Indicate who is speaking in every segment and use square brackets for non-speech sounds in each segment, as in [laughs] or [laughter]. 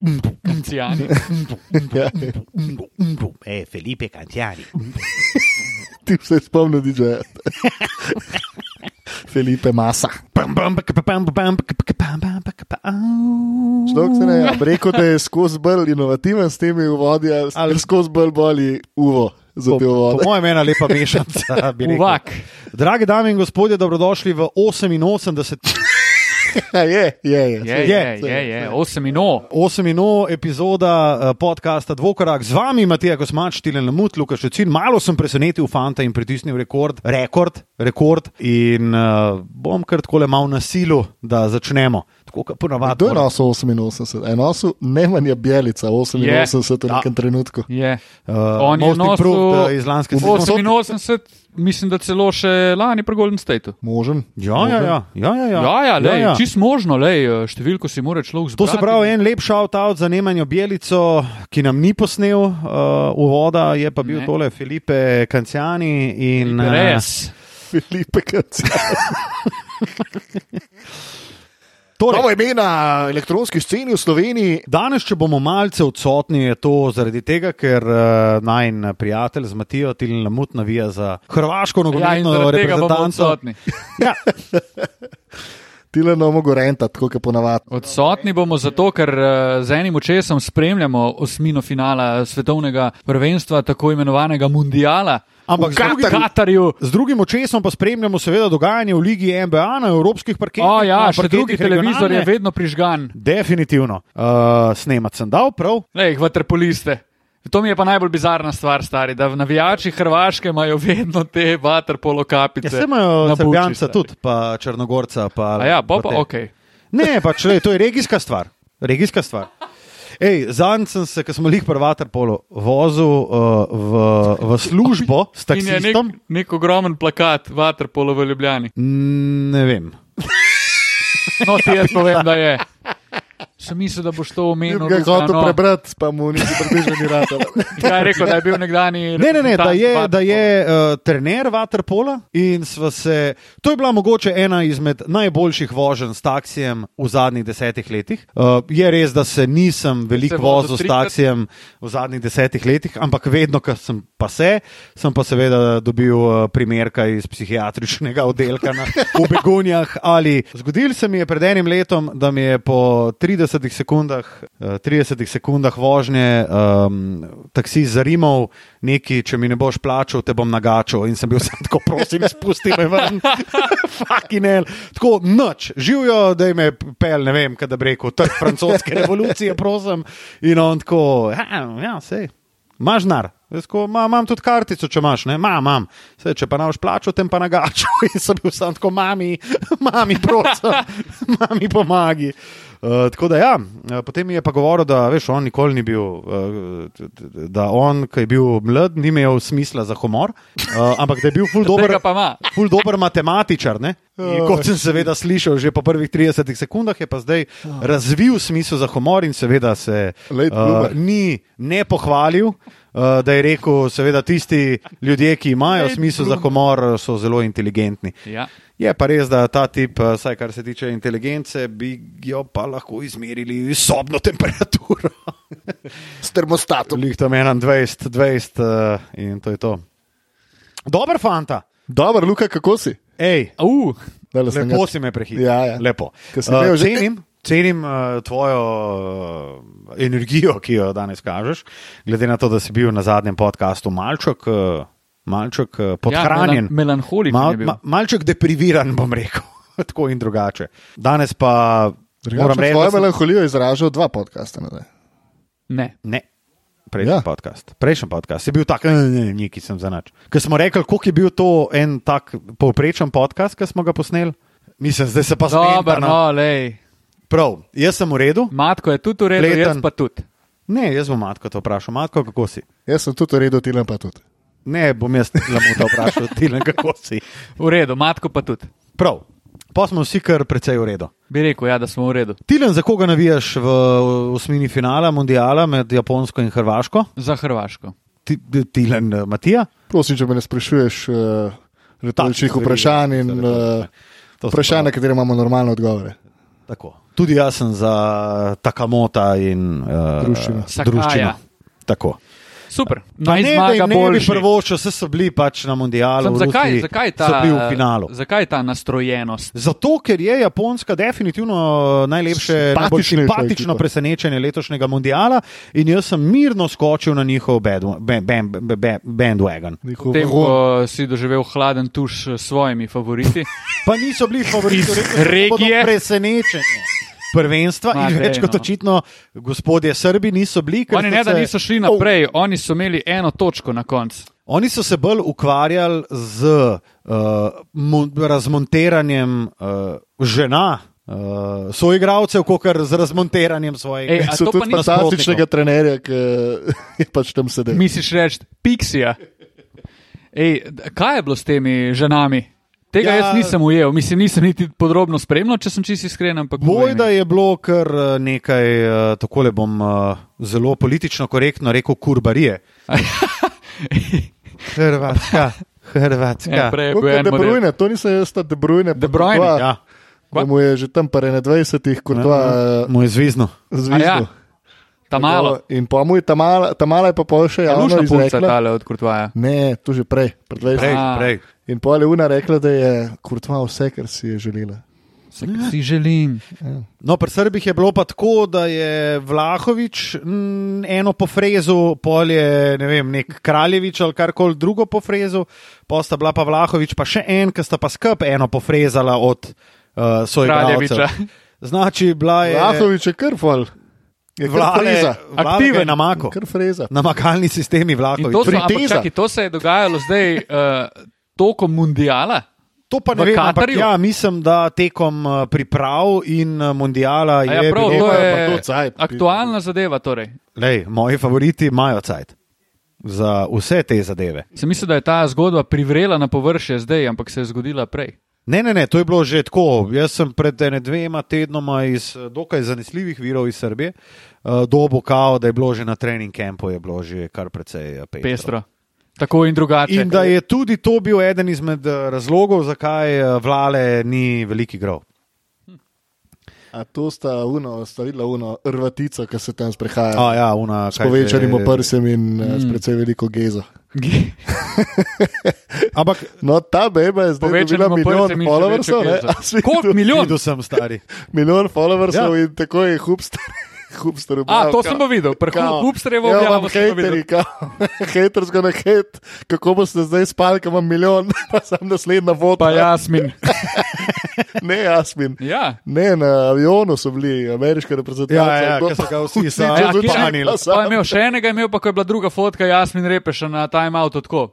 Speaker 1: [laughs]
Speaker 2: Canziani.
Speaker 1: Eh, Felipe Cantiani.
Speaker 3: Ti se spomni, DJ. [laughs] Felipe Masa. Človek se ne, ampak rekel, da je skozi bolj inovativen s temi vodi, ali, ali skozi bolj boli uvo za te
Speaker 1: Po
Speaker 3: vode.
Speaker 1: mojem, ena lepa mešanica. bi rekel.
Speaker 2: Uvak.
Speaker 1: Drage dame in gospodje, dobrodošli v 88.
Speaker 3: Ja, [laughs] je, je, je.
Speaker 2: Je, je, je, je, osem in o.
Speaker 1: 8.0 epizoda eh, podcasta Dvokorak z vami, Matija Kosmač, Tilen Lamut, Lukaš Čucin. Malo sem presenetil fanta in pritisnil rekord, rekord, rekord in uh, bom kar tako le mal na silu, da začnemo. Tako kot
Speaker 3: Kdo je
Speaker 1: ponavadi.
Speaker 3: nosil 88? En nosil Nemanja Bjelica 88 v
Speaker 1: Je.
Speaker 3: nekem trenutku.
Speaker 2: Je.
Speaker 1: Uh,
Speaker 2: On je
Speaker 1: most improved, eh, iz lanske
Speaker 2: nosil
Speaker 1: sezone.
Speaker 2: 88, mislim, da celo še lani pri Golden Stateu.
Speaker 3: Možen.
Speaker 1: Ja, ja,
Speaker 3: [laughs]
Speaker 1: ja. ja, ja, ja.
Speaker 2: Ja, ja, lej, ja, ja. čist možno, lej, številko si mora človek
Speaker 1: To
Speaker 2: zbrati.
Speaker 1: se pravi, en lep shout-out za Nemanjo Belico, ki nam ni posnel uh, uvoda, je pa bil ne.
Speaker 2: Ne.
Speaker 1: tole Felipe Kanciani. In, eh,
Speaker 2: Res.
Speaker 3: Filipe Kacar.
Speaker 1: torej,
Speaker 3: Novo ime na elektronski sceni v Sloveniji.
Speaker 1: Danes, če bomo malce odsotni, je to zaradi tega, ker uh, naj prijatelj z Matijo Tilin Lamut navija za hrvaško
Speaker 2: Ja, in
Speaker 1: nogometno
Speaker 2: zaradi tega bomo
Speaker 1: reprezentanco.
Speaker 2: odsotni.
Speaker 1: Ja,
Speaker 2: [laughs]
Speaker 3: Tile nomo gorenta, tako kot ponavadi.
Speaker 2: Odsotni bomo zato, ker eh, z enim očesom spremljamo osmino finala svetovnega prvenstva, tako imenovanega mundiala.
Speaker 1: Ampak
Speaker 2: v
Speaker 1: z drugim-
Speaker 2: Katarju.
Speaker 1: z drugim očesom pa spremljamo seveda dogajanje v Ligi NBA na evropskih parketih.
Speaker 2: O, ja,
Speaker 1: na
Speaker 2: še
Speaker 1: parketih
Speaker 2: drugi televizor je
Speaker 1: regionalne.
Speaker 2: vedno prižgan.
Speaker 1: Definitivno. Uh, snemat sem dal, prav.
Speaker 2: Lej, vaterpoliste. To mi je pa najbolj bizarna stvar, stari, da navijači Hrvaške imajo vedno te vaterpolo kapice.
Speaker 1: Ja, se imajo
Speaker 2: na buči,
Speaker 1: Srbijanca
Speaker 2: stari.
Speaker 1: tudi, pa Črnogorca. Pa,
Speaker 2: A ja, pa, pa
Speaker 1: te.
Speaker 2: ok.
Speaker 1: Ne, pač le, to je regijska stvar. Regijska stvar. Ej, zanj sem se, ko smo jih prvater polo vozil uh, v, v službo s
Speaker 2: In je nek,
Speaker 1: taksistom.
Speaker 2: nek ogromen plakat vaterpolo v Ljubljani.
Speaker 1: Mm, Ne vem.
Speaker 2: No, ti jaz povem, da je. Sem mislil, da boš to
Speaker 3: Jaz
Speaker 2: omenil.
Speaker 3: bi ga
Speaker 2: Ruslan,
Speaker 3: hotel
Speaker 2: no.
Speaker 3: prebrati, pa mu nisi približen rad.
Speaker 2: Kaj je rekel, da je bil nekdani.
Speaker 1: Ne, ne, ne, da je,
Speaker 2: reprezentant
Speaker 1: da je uh, trener Vaterpola in sva se. To je bila mogoče ena izmed najboljših voženj s taksijem v zadnjih desetih letih. Uh, je res, da se nisem veliko
Speaker 2: Se vozil
Speaker 1: vozil s
Speaker 2: trikrat?
Speaker 1: taksijem v zadnjih desetih letih, ampak vedno, ko sem pa se, sem pa seveda dobil uh, primerka iz psihiatričnega oddelka na, v Begunjah. Ali zgodil se mi je pred enim letom, da mi je po 30 sekundah, uh, 30 sekundah vožnje um, taksi zarimal neki, če mi ne boš plačal, te bom nagačal. In sem bil [laughs] sam tako, prosim, spusti me ven. [laughs] Fucking hell. Tako noč, živijo, da jim je pel, ne vem, kaj da bi rekel, trg francoske revolucije, prosim. In on tako, ja, ja sej, imaš nar. Jaz tako, "Ma, Imam tudi kartico, če imaš, ne, Ma, imam. Sej, če pa ne boš plačal, tem pa nagačal. [laughs] In sem bil sam tako, mami, mami, prosim, [laughs] mami, pomagi. Uh, tako da, ja, eh, potem mi je pa govoril, da veš, on nikoli ni bil, uh, da on, ki je bil mlad, ni imel smisla za humor, uh, ampak da je bil ful dober.
Speaker 2: Tega pa ima.
Speaker 1: Ful dober matematičar. ne. In Kot sem seveda slišal že po prvih 30 sekundah, je pa zdaj razvil smisel za humor in seveda se eh,
Speaker 3: Late bloomer.
Speaker 1: ni ne pohvalil, uh, da je rekel, seveda tisti ljudje, ki imajo
Speaker 2: Late
Speaker 1: smisel za humor, so zelo inteligentni.
Speaker 2: Ja.
Speaker 1: Je pa res, da ta tip, eh, vsaj kar se tiče inteligence, bi jo pa lahko izmerili s sobno temperaturo.
Speaker 3: S termostatom.
Speaker 1: Lih tam 21, 20 uh, in to je to. Dober fanta,
Speaker 3: Dobro, Luka, kako si?
Speaker 1: hej.
Speaker 2: Uh,
Speaker 3: Dale, sem
Speaker 1: Lepo
Speaker 3: ga-
Speaker 1: si me prehitel.
Speaker 3: Ja, ja.
Speaker 1: Lepo.
Speaker 3: Ko sem
Speaker 1: Eh,
Speaker 3: imel že-
Speaker 1: cenim, cenim uh, tvojo uh, energijo, ki jo danes kažeš, glede na to, da si bil na zadnjem podkastu malček, uh, malček uh, podhranjen.
Speaker 2: Ja, melan- melanholičen je bil.
Speaker 1: malček depriviran, bom rekel. [laughs] Tako in drugače. Danes pa moram
Speaker 3: Moram reči,
Speaker 1: reči,
Speaker 3: svojo
Speaker 1: da sem...
Speaker 3: melanholijo izražal dva podcasta nazaj.
Speaker 2: ne.
Speaker 1: ne. Prejšnji
Speaker 3: Ja.
Speaker 1: ja. podcast. Prejšnji podcast je bil tak, eh, neki sem zanač. Ker smo rekli, koliko je bil to en tak povprečen podcast, ki smo ga posneli. Mislim, zdaj se pa
Speaker 2: Dobro,
Speaker 1: zmenimo.
Speaker 2: no, lej.
Speaker 1: Prav, jaz sem v redu.
Speaker 2: Matko je tudi v redu,
Speaker 1: Pleten.
Speaker 2: jaz pa tudi.
Speaker 1: Ne, jaz bom matko to vprašal. Matko, kako si?
Speaker 3: Jaz sem tudi redo, ti pa tudi.
Speaker 1: Ne, bom jaz lamuta vprašal, [laughs] ti le kako si.
Speaker 2: V redu, matko pa tudi.
Speaker 1: Prav, pa smo vsi kar precej v redu.
Speaker 2: Bi rekel, ja, da smo v redu.
Speaker 1: Tilen, za koga navijaš v osmini finala mondiala med Japonsko in Hrvaško?
Speaker 2: Za Hrvaško.
Speaker 1: Ti, Tilen, eh, Matija?
Speaker 3: Prosim, če me ne sprašuješ uh, retoričnih
Speaker 1: stvari,
Speaker 3: vprašanj
Speaker 1: ja,
Speaker 3: in
Speaker 1: stvari,
Speaker 3: uh,
Speaker 1: To so
Speaker 3: vprašanj,
Speaker 1: pa-
Speaker 3: na katera imamo normalne odgovore.
Speaker 1: Tako. Tudi jaz sem za Takamota in uh,
Speaker 3: Druščino.
Speaker 2: Sakaja.
Speaker 1: druščino. Tako.
Speaker 2: Super,
Speaker 1: Pa
Speaker 2: naj
Speaker 1: Ne, da
Speaker 2: zmaga
Speaker 1: jim ne bi
Speaker 2: boljši.
Speaker 1: prvočil, vse so bili pač na mundialu.
Speaker 2: Sem,
Speaker 1: v
Speaker 2: zakaj,
Speaker 1: Rusiji,
Speaker 2: zakaj, ta,
Speaker 1: so bili v finalu?
Speaker 2: zakaj ta nastrojenost?
Speaker 1: Zato, ker je Japonska definitivno uh, najlepše, najbolj
Speaker 3: Simpatičnejša
Speaker 1: simpatično
Speaker 3: ekipa.
Speaker 1: presenečenje letošnjega mundiala in jaz sem mirno skočil na njihov badu- ba- ba- ba- ba- bandwagon.
Speaker 3: Njihov
Speaker 2: Potem,
Speaker 3: ro-
Speaker 2: ko si doživel hladen tuš s svojimi favoriti,
Speaker 1: Pa niso bili favoriti,
Speaker 2: Iz
Speaker 1: rekel sem, da bodo
Speaker 2: regije.
Speaker 1: presenečenje. Prvenstva
Speaker 2: Ma,
Speaker 1: in
Speaker 2: dej,
Speaker 1: več kot
Speaker 2: no.
Speaker 1: očitno, gospodje Srbi niso bili. [laughs] ker
Speaker 2: oni
Speaker 1: so
Speaker 2: ne da
Speaker 1: se-
Speaker 2: niso šli naprej, oni so imeli eno točko na koncu.
Speaker 1: Oh, Oni so se bolj ukvarjali z uh, mon- razmontiranjem uh, žena, uh, soigralcev, kot kar z razmontiranjem svojega.
Speaker 2: Ej, eh, a
Speaker 3: So
Speaker 2: to pa
Speaker 3: tudi
Speaker 2: ni
Speaker 3: fantastičnega trenerja, ki [laughs] je pač tam sedel.
Speaker 2: Misliš reči, piksija. Ej, d- kaj je bilo s temi ženami? Tega
Speaker 1: Ja.
Speaker 2: ja, jaz nisem ujel, mislim, nisem niti podrobno spremljal, če sem čisto iskren. ampak povej mi.
Speaker 1: Bojda je bilo kar eh, nekaj, eh, takole bom eh, zelo politično korektno rekel, kurbarije.
Speaker 2: [laughs]
Speaker 1: Hrvatska,
Speaker 2: Ja,
Speaker 1: [laughs] Hrvatska.
Speaker 2: prej je
Speaker 3: Kot
Speaker 2: bil en
Speaker 3: De
Speaker 2: model.
Speaker 3: Bruyne, to nisem jaz, ta De Bruyne. pa
Speaker 2: De Bruyne,
Speaker 3: Courtois,
Speaker 1: Ja,
Speaker 3: Da mu je že tam pa 21, kot dva
Speaker 1: moj zvezno.
Speaker 2: A Ja,
Speaker 3: zvezda.
Speaker 2: ta malo.
Speaker 3: eh, In pa mu je ta mala, ta mala je pa pol
Speaker 1: Ja,
Speaker 3: še javno
Speaker 2: Lušna punca
Speaker 3: izrekla.
Speaker 2: tale od Kurtvaja.
Speaker 3: Ne, to že prej, pred 20.
Speaker 1: Prej,
Speaker 2: A.
Speaker 1: prej.
Speaker 3: In pol je Una rekla, da je kurtma vse, kar si je želela.
Speaker 2: Vse, kar Si želim.
Speaker 1: No, pri Srbih je bilo pa tako, da je Vlahovič m, eno po frezu, polje, ne vem, nek Kraljevič ali karkoli drugo po frezu, posta bila pa Vlahovič, pa še en, ki sta pa skup eno pofrezala od uh, soigralcev.
Speaker 2: Kraljeviča.
Speaker 1: Znači, bila je
Speaker 3: Lahovič je krval. Je
Speaker 1: Vlale-
Speaker 3: krvaliza.
Speaker 1: Vlale
Speaker 2: Aktiven.
Speaker 1: ga je namako.
Speaker 3: Krvaliza.
Speaker 1: Namakalni sistemi
Speaker 2: In to,
Speaker 1: Vlahovič.
Speaker 2: so, ampak,
Speaker 3: Friteza.
Speaker 2: čaki, to se je dogajalo zdaj uh, tokom mundiala.
Speaker 1: To pa ne
Speaker 2: v
Speaker 1: vem, ampak
Speaker 2: Katarju?
Speaker 1: ja, mislim, da tekom eh, priprav in eh, mundiala
Speaker 2: A
Speaker 1: je,
Speaker 2: Ja, prav,
Speaker 1: bilo,
Speaker 2: to
Speaker 3: pa
Speaker 2: je
Speaker 3: to cajt.
Speaker 2: aktualna zadeva. Torej.
Speaker 1: lej, moji favoriti imajo cajt za vse te zadeve.
Speaker 2: Sem mislil, da je ta zgodba privrela na površje zdaj, ampak se je zgodila prej.
Speaker 1: Ne, ne, ne, to je bilo že tako. Jaz sem pred ene dvema tednoma iz eh, dokaj zanesljivih virov iz Srbije uh, dobo kao, da je bilo že na trening kampu, je bilo že kar precej eh, pestro.
Speaker 2: Pestro. Tako in drugače.
Speaker 1: In da je tudi to bil eden izmed eh, razlogov, zakaj eh, vlale ni veliki grov.
Speaker 3: A to sta uno, sta videla uno, rvatica, ki se tam sprehaja.
Speaker 1: A, ja, una,
Speaker 3: S
Speaker 1: kaj eh, že-
Speaker 3: povečanim oprsem in mm. s precej veliko gezo.
Speaker 1: Ampak
Speaker 3: No, ta beba je zdaj
Speaker 2: Povečanim
Speaker 3: dobila milijon
Speaker 2: oprsem in še
Speaker 3: followersov.
Speaker 2: večjo
Speaker 3: ne?
Speaker 2: gezo.
Speaker 3: A si
Speaker 2: Koliko
Speaker 3: videl?
Speaker 2: milijon?
Speaker 1: videl sem stari.
Speaker 3: Milijon followersov
Speaker 1: Ja.
Speaker 3: ja. in tako je hubster. [laughs] hubster
Speaker 2: A,
Speaker 3: objavil,
Speaker 2: to
Speaker 3: kao-
Speaker 2: sem pa videl,
Speaker 3: kao,
Speaker 2: prehod Hubsterjevo
Speaker 3: ja,
Speaker 2: objavo
Speaker 3: imam
Speaker 2: sem pa videl.
Speaker 3: hejteri, [laughs] hejtersko na hejt, kako boste zdaj spali, ko imam milijon, [laughs] pa sem naslednja voda.
Speaker 2: Pa
Speaker 1: [laughs]
Speaker 2: Jasmin.
Speaker 3: Ne, Jasmin.
Speaker 2: Ja.
Speaker 3: Ne, na avionu so bili ameriški reprezentanti.
Speaker 1: Ja, ja,
Speaker 3: Kdo
Speaker 1: ki so
Speaker 3: pa-
Speaker 1: ga vsi
Speaker 3: vsi
Speaker 1: sa-
Speaker 2: Ja,
Speaker 1: Ja,
Speaker 3: čez
Speaker 2: kje-
Speaker 1: Panil.
Speaker 3: pa
Speaker 2: pa je
Speaker 3: sam.
Speaker 2: imel še enega, je imel pa ko je bila druga fotka, Jasmin Repeša na timeoutu tako.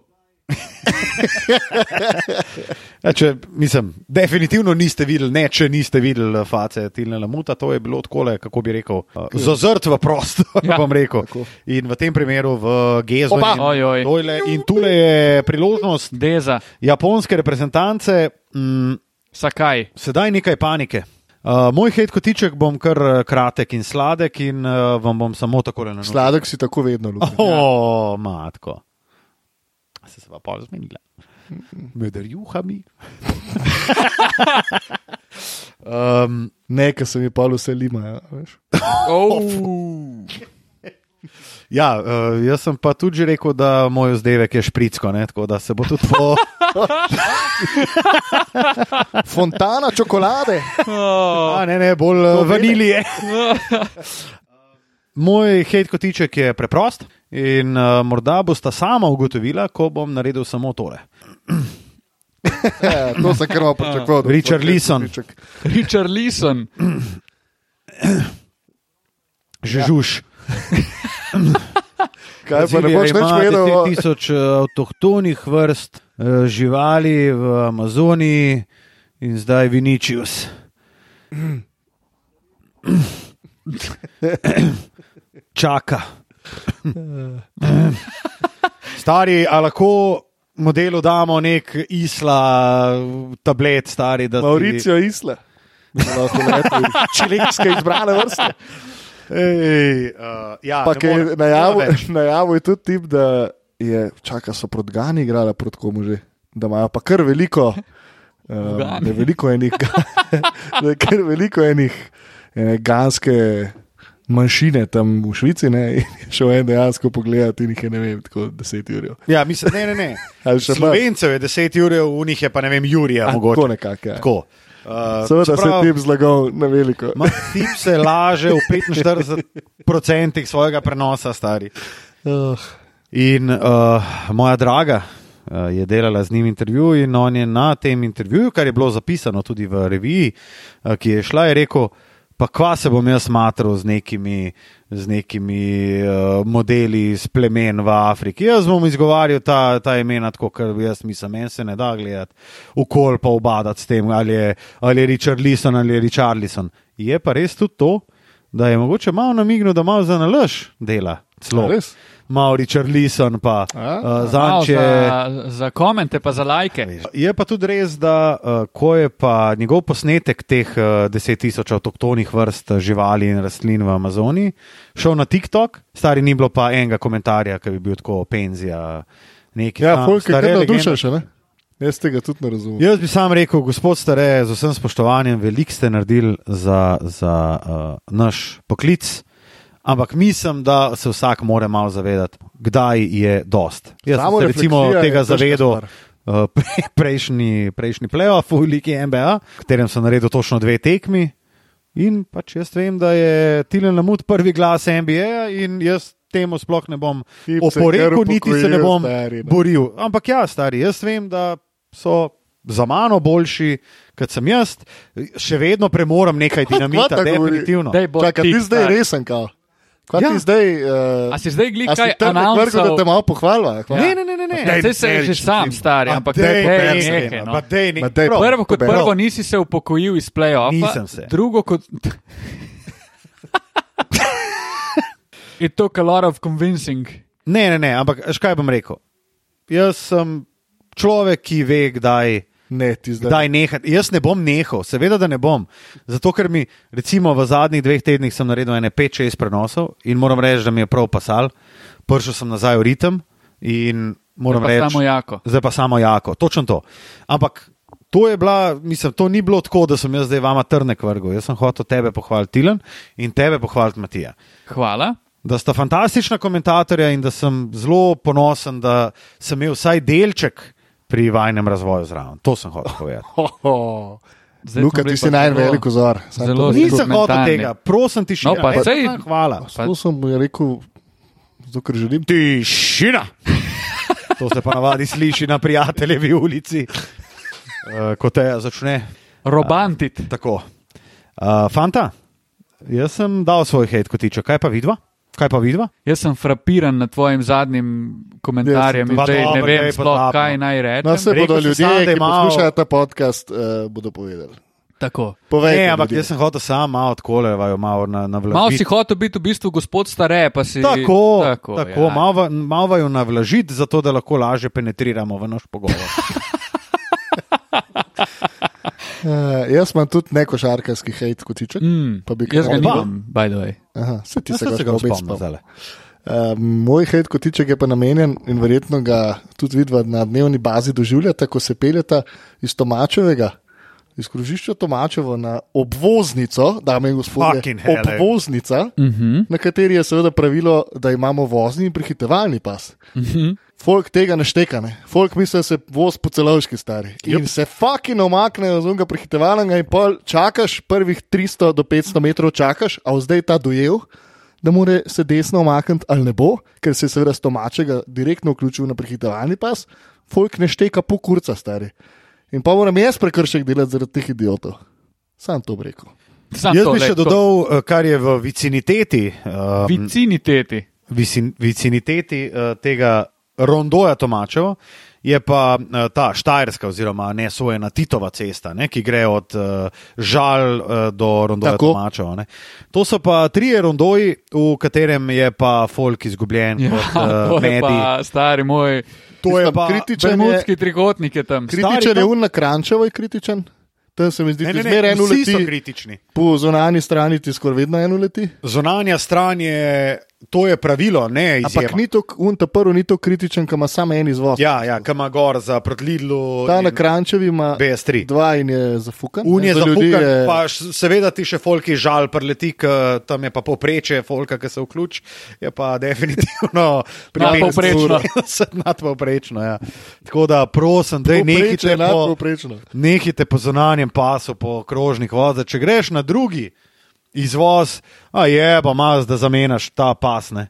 Speaker 1: Ja, če, mislim, definitivno niste videli, ne, če niste videli eh, face Tilne Lamuta, to je bilo tako, kako bi rekel, eh, zazrt v prosto.
Speaker 2: Ja.
Speaker 1: Ja, [laughs] bom rekel. In v tem primeru v Gezu
Speaker 3: Opa.
Speaker 1: in,
Speaker 2: Oj, oj.
Speaker 1: dojle, in tule je priložnost
Speaker 2: Deza,
Speaker 1: japonske reprezentance, mm,
Speaker 2: Sakaj.
Speaker 1: sedaj nekaj panike. Uh, moj hate kotiček bom kar eh, kratek in sladek in uh, vam bom samo tako na noč.
Speaker 3: Sladek si tako vedno ja. ljubi.
Speaker 2: Oh.
Speaker 1: O, matko. Se se pa pol zmenila. Med rjuhami. um,
Speaker 3: Ne, ker se mi pa vse lima. Ja,
Speaker 2: [laughs]
Speaker 3: veš.
Speaker 2: Oh.
Speaker 1: ja, eh, jaz sem pa tudi že rekel, da moj vzdevek je špricko, ne? tako da se bo tudi po.
Speaker 3: Fontana čokolade.
Speaker 1: A, ne, ne, bolj eh,
Speaker 3: vele.
Speaker 1: vanilije. Um, Moj hate kotiček je preprost in uh, morda boste sama ugotovila, ko bom naredil samo tole.
Speaker 3: Ja, to
Speaker 2: [laughs]
Speaker 3: sem krmo pričakoval. da bo
Speaker 1: Richard
Speaker 3: tvoj
Speaker 1: Leeson.
Speaker 3: kotiček.
Speaker 2: [laughs] Richard Leeson.
Speaker 1: Žežuš. Ja.
Speaker 3: Kaj pa ne boš več povedal? o-
Speaker 1: 10.000 eh, avtohtonih vrst eh, živali v Amazoniji in zdaj Viničius. Čaka. Stari, a lahko modelu damo nek isla tablet, stari, da ti-
Speaker 3: Mauricijo Isla. [laughs] Čilenske izbrane vrste.
Speaker 1: Ej, uh, ja,
Speaker 3: Pa
Speaker 1: ne
Speaker 3: ki je
Speaker 1: morem, Ja, ne morem več.
Speaker 3: najavil, najavil je tudi tip, da je, čaka, so proti Gani igrala proti komu že, da imajo pa kar veliko, um,
Speaker 2: Gani.
Speaker 3: [laughs] ne veliko enih, da je kar veliko enih. ene ganske manjšine tam v Švici, ne, in je šel en dejansko pogledati in jih je ne vem, tako deset ur.
Speaker 1: Ja, mislim, ne, ne, ne.
Speaker 3: [laughs] Ali še manj?
Speaker 1: Slovencev je 10 ur, v njih je pa ne vem, Jurija.
Speaker 3: A,
Speaker 1: mogoče.
Speaker 3: tako nekako, ja.
Speaker 1: Tako. Uh,
Speaker 3: Seveda se
Speaker 1: čeprav-
Speaker 3: ti zlagal na veliko.
Speaker 1: Ma, Tip se laže v
Speaker 3: [laughs]
Speaker 1: 45% svojega prenosa, stari.
Speaker 3: Uh,
Speaker 1: In uh, moja draga uh, je delala z njim intervju, in on je na tem intervjuju, kar je bilo zapisano tudi v reviji, uh, ki je šla, je rekel. Pa kva se bom jaz matral z nekimi, z nekimi uh, modeli iz plemen v Afriki. Jaz bom izgovarjal ta, ta imena tako, ker jaz mislim, meni se ne da gledati, ukol pa obadati s tem, ali je, ali je Richard Lison ali je Richard Lison. Je pa res tudi to, da je mogoče malo namignil, da malo za nalaž dela. Celo.
Speaker 3: A res?
Speaker 1: Mauri Charlison, pa
Speaker 3: A?
Speaker 1: uh,
Speaker 2: Wow,
Speaker 1: Zanče. Ja,
Speaker 2: za, za komente, pa za lajke.
Speaker 1: Je pa tudi res, da uh, ko je pa njegov posnetek teh uh, 10.000 avtohtonih vrst eh, živali in rastlin v Amazoniji šel na TikTok, stari ni bilo pa enega komentarja, ki bi bil tako penzija. Neki,
Speaker 3: ja,
Speaker 1: tam
Speaker 3: folk je
Speaker 1: stare
Speaker 3: kar
Speaker 1: legende. Ja,
Speaker 3: navdušen še, ne? Jaz tega tudi ne razumem.
Speaker 1: Jaz bi sam rekel, gospod Stare, z vsem spoštovanjem, veliko ste naredili za, za uh, naš poklic, ampak mislim, da se vsak mora malo zavedati, kdaj je dost. Jaz sem se recimo
Speaker 3: Samorefleksija je
Speaker 1: tega
Speaker 3: težka
Speaker 1: zavedel.
Speaker 3: stvar.
Speaker 1: eh, [laughs] pre- Prejšnji, prejšnji playoff v Ligi MBA, v katerem sem naredil točno dve tekmi. In pač jaz vem, da je Tilen Lamut prvi glas NBA, in jaz temu sploh ne bom
Speaker 3: Tip se je kar
Speaker 1: oporekal, niti se ne
Speaker 3: upokojil,
Speaker 1: bom
Speaker 3: stari, no.
Speaker 1: boril. Ampak ja, stari, jaz vem, da so za mano boljši, kot sem jaz. Še vedno premoram nekaj dinamita,
Speaker 3: Hvata govori.
Speaker 1: definitivno.
Speaker 2: Dej, bo
Speaker 3: Čakaj,
Speaker 2: ti,
Speaker 3: ti zdaj
Speaker 2: stari.
Speaker 3: resen, kao. Kaj
Speaker 1: Ja.
Speaker 3: ti zdaj? Uh,
Speaker 2: A si zdaj glih kaj
Speaker 3: vrgel, da
Speaker 2: announceal?
Speaker 3: te malo eh, pohvala? Hvala.
Speaker 1: Ne, ne, ne, ne. ne.
Speaker 2: Ja, Zdaj se je že sam star, ampak
Speaker 1: dej,
Speaker 2: dej,
Speaker 1: dej,
Speaker 2: nekaj, no.
Speaker 1: Pa dej, ne.
Speaker 3: Ma dej,
Speaker 1: Prav,
Speaker 2: Prvo kot
Speaker 1: prav.
Speaker 2: prvo nisi se upokojil iz
Speaker 1: Nisem
Speaker 2: playoffa,
Speaker 1: se.
Speaker 2: drugo kot. [laughs] It took a lot of convincing.
Speaker 1: Ne, ne, ne, ampak veš, kaj bom rekel. Jaz sem človek, ki ve, kdaj.
Speaker 3: ne, ti zdaj.
Speaker 1: Kdaj nehati? Jaz ne bom nehal, seveda, da ne bom. Zato, ker mi, recimo, v zadnjih dveh tednih sem naredil ene 5-6 prenosov in moram reči, da mi je prav pasal. Prišel sem nazaj v ritem in moram
Speaker 2: Zdaj pa
Speaker 1: reči.
Speaker 2: samo jako.
Speaker 1: Zdaj pa samo jako, točno to. Ampak to je bila, mislim, to ni bilo tako, da sem jaz zdaj vama trnek vrgel. Jaz sem hotel tebe pohvaliti, Tilan, in tebe pohvaliti, Matija
Speaker 2: Hvala.
Speaker 1: da sta fantastična komentatorja in da sem zelo ponosen, da sem imel vsaj delček pri vajnem razvoju zraven. To sem hotel povedati.
Speaker 3: Ho, ho.
Speaker 2: Zdaj
Speaker 3: Luka,
Speaker 2: smo bili
Speaker 3: ti
Speaker 2: pa
Speaker 3: si naj
Speaker 2: zelo-
Speaker 3: velik vzor.
Speaker 2: zelo-
Speaker 1: Nisem hotel
Speaker 2: dokumentarni.
Speaker 1: tega, prosim ti še
Speaker 2: No, pa sej-
Speaker 1: Hvala.
Speaker 2: Pa-
Speaker 3: To sem mu rekel, zato ker želim.
Speaker 1: Tišina! [laughs] To se pa navadi sliši na prijateljevi ulici, Eh, ko te začne
Speaker 2: Robantit.
Speaker 1: tako. Uh, fanta, jaz sem dal svoj hate kotiček, kaj pa vidva? Kaj pa vidva?
Speaker 2: Jaz sem frapiran nad tvojim zadnjim komentarjem in
Speaker 3: Jaz sem
Speaker 1: tudi-
Speaker 2: zdaj
Speaker 1: Pa
Speaker 2: ne
Speaker 1: dobro,
Speaker 2: vem,
Speaker 1: daj,
Speaker 2: sploh,
Speaker 1: potapno.
Speaker 2: kaj naj rečem.
Speaker 3: No, se
Speaker 1: Rekel
Speaker 3: bodo
Speaker 1: si sam,
Speaker 3: ljudje,
Speaker 1: da je
Speaker 3: ki
Speaker 1: malo-
Speaker 3: poslušajo ta podcast, uh, bodo povedali.
Speaker 2: Tako.
Speaker 3: Povej,
Speaker 1: Ne, ampak jaz sem hotel sam malo odkolevajo, malo na, na vladi.
Speaker 2: Malo si hotel biti v bistvu gospod stare, pa si
Speaker 1: Tako, tako, tako
Speaker 2: ja.
Speaker 1: ja. malo, malo jo navlažiti, zato da lahko lažje penetriramo v naš [laughs] pogovor.
Speaker 3: Uh, jaz imam tudi neko šarkarski hejt kotiček.
Speaker 2: Mm,
Speaker 3: pa bi
Speaker 2: jaz ga
Speaker 3: kar-
Speaker 2: nimam, Ja, by the way.
Speaker 3: Aha, se ti
Speaker 1: Jaz
Speaker 3: se
Speaker 1: sem
Speaker 3: ga
Speaker 1: se ga
Speaker 3: spomnim.
Speaker 1: spomnil zdajle.
Speaker 3: Uh, moj hejt kotiček je pa namenjen in verjetno ga tudi vidva na dnevni bazi doživljata, ko se peljeta iz Tomačevega, iz krožišča Tomačevo na obvoznico, dame in gospodje,
Speaker 1: Fucking hell, ej.
Speaker 3: obvoznica, uh -huh. na kateri je seveda pravilo, da imamo vozni in prehitevalni pas. Uh -huh. Folk tega ne šteka, ne. folk misli, da se voz po celovški stari. Yep. In se fucking omaknejo z unga prehitevalnega in pol čakaš, prvih 300 do 500 metrov čakaš, a bo zdaj ta dojel, da mora se desno omakniti ali ne bo, ker se je seveda s tomačega direktno vključil na prehitevalni pas, folk ne šteka po kurca stari. In pa moram jaz prekršek delati zaradi teh idiotov. Sam to bi rekel.
Speaker 2: Sam
Speaker 1: Jaz
Speaker 2: to,
Speaker 1: bi
Speaker 2: le,
Speaker 1: še
Speaker 2: tako.
Speaker 1: dodal, eh, kar je v viciniteti, eh,
Speaker 2: Viciniteti.
Speaker 1: vicin- viciniteti eh, tega rondoja Tomačevo, je pa eh, ta Štajerska oziroma nesvojena Titova cesta, ne, ki gre od eh, Žal eh, do rondoja
Speaker 3: Tako.
Speaker 1: Tomačevo. Ne. To so pa trije rondoji, v katerem je pa folk izgubljen
Speaker 2: Ja,
Speaker 1: kot eh,
Speaker 2: to je
Speaker 1: medij.
Speaker 2: pa stari moj.
Speaker 1: To je
Speaker 3: Mislim,
Speaker 1: pa
Speaker 3: kritičen je-
Speaker 2: Bermudski trikotnik je tam.
Speaker 1: Kri-
Speaker 3: Kritičen
Speaker 1: Stari,
Speaker 3: je
Speaker 1: to-
Speaker 3: un na Krančevo, je kritičen. Tam se mi zdi,
Speaker 1: Ne,
Speaker 3: da
Speaker 1: ne,
Speaker 3: zmeraj
Speaker 1: ne,
Speaker 3: eno
Speaker 1: vsi so
Speaker 3: leti.
Speaker 1: kritični.
Speaker 3: Po zunanji strani ti skoraj vedno eno leti.
Speaker 1: Zunanja stran je To je pravilo, ne izjema.
Speaker 3: Ampak ni to, un ta prvi ni to kritičen, ki ima samo en izvoz.
Speaker 1: Ja, ja, ki ima gor za protlidlo.
Speaker 3: Ta na Krančevi ima
Speaker 1: BS3.
Speaker 3: dva in je zafukan.
Speaker 1: Un je
Speaker 3: Za ljudi
Speaker 1: zapukan,
Speaker 3: je-
Speaker 1: pa š- seveda ti še folki žal preleti, ker tam je pa povprečje folka, ki se vključi, je pa
Speaker 3: [laughs]
Speaker 1: definitivno [laughs]
Speaker 2: Nadpovprečno.
Speaker 1: Nadpovprečno, ja. Tako da prosim, da
Speaker 3: Povprečje
Speaker 1: nehite
Speaker 3: je
Speaker 1: po,
Speaker 3: nadpovprečno.
Speaker 1: nehite po zonanjem pasu, po krožnih vodah. Če greš na drugi izvoz, a je pa maz, da zamenjaš ta pas. Ne.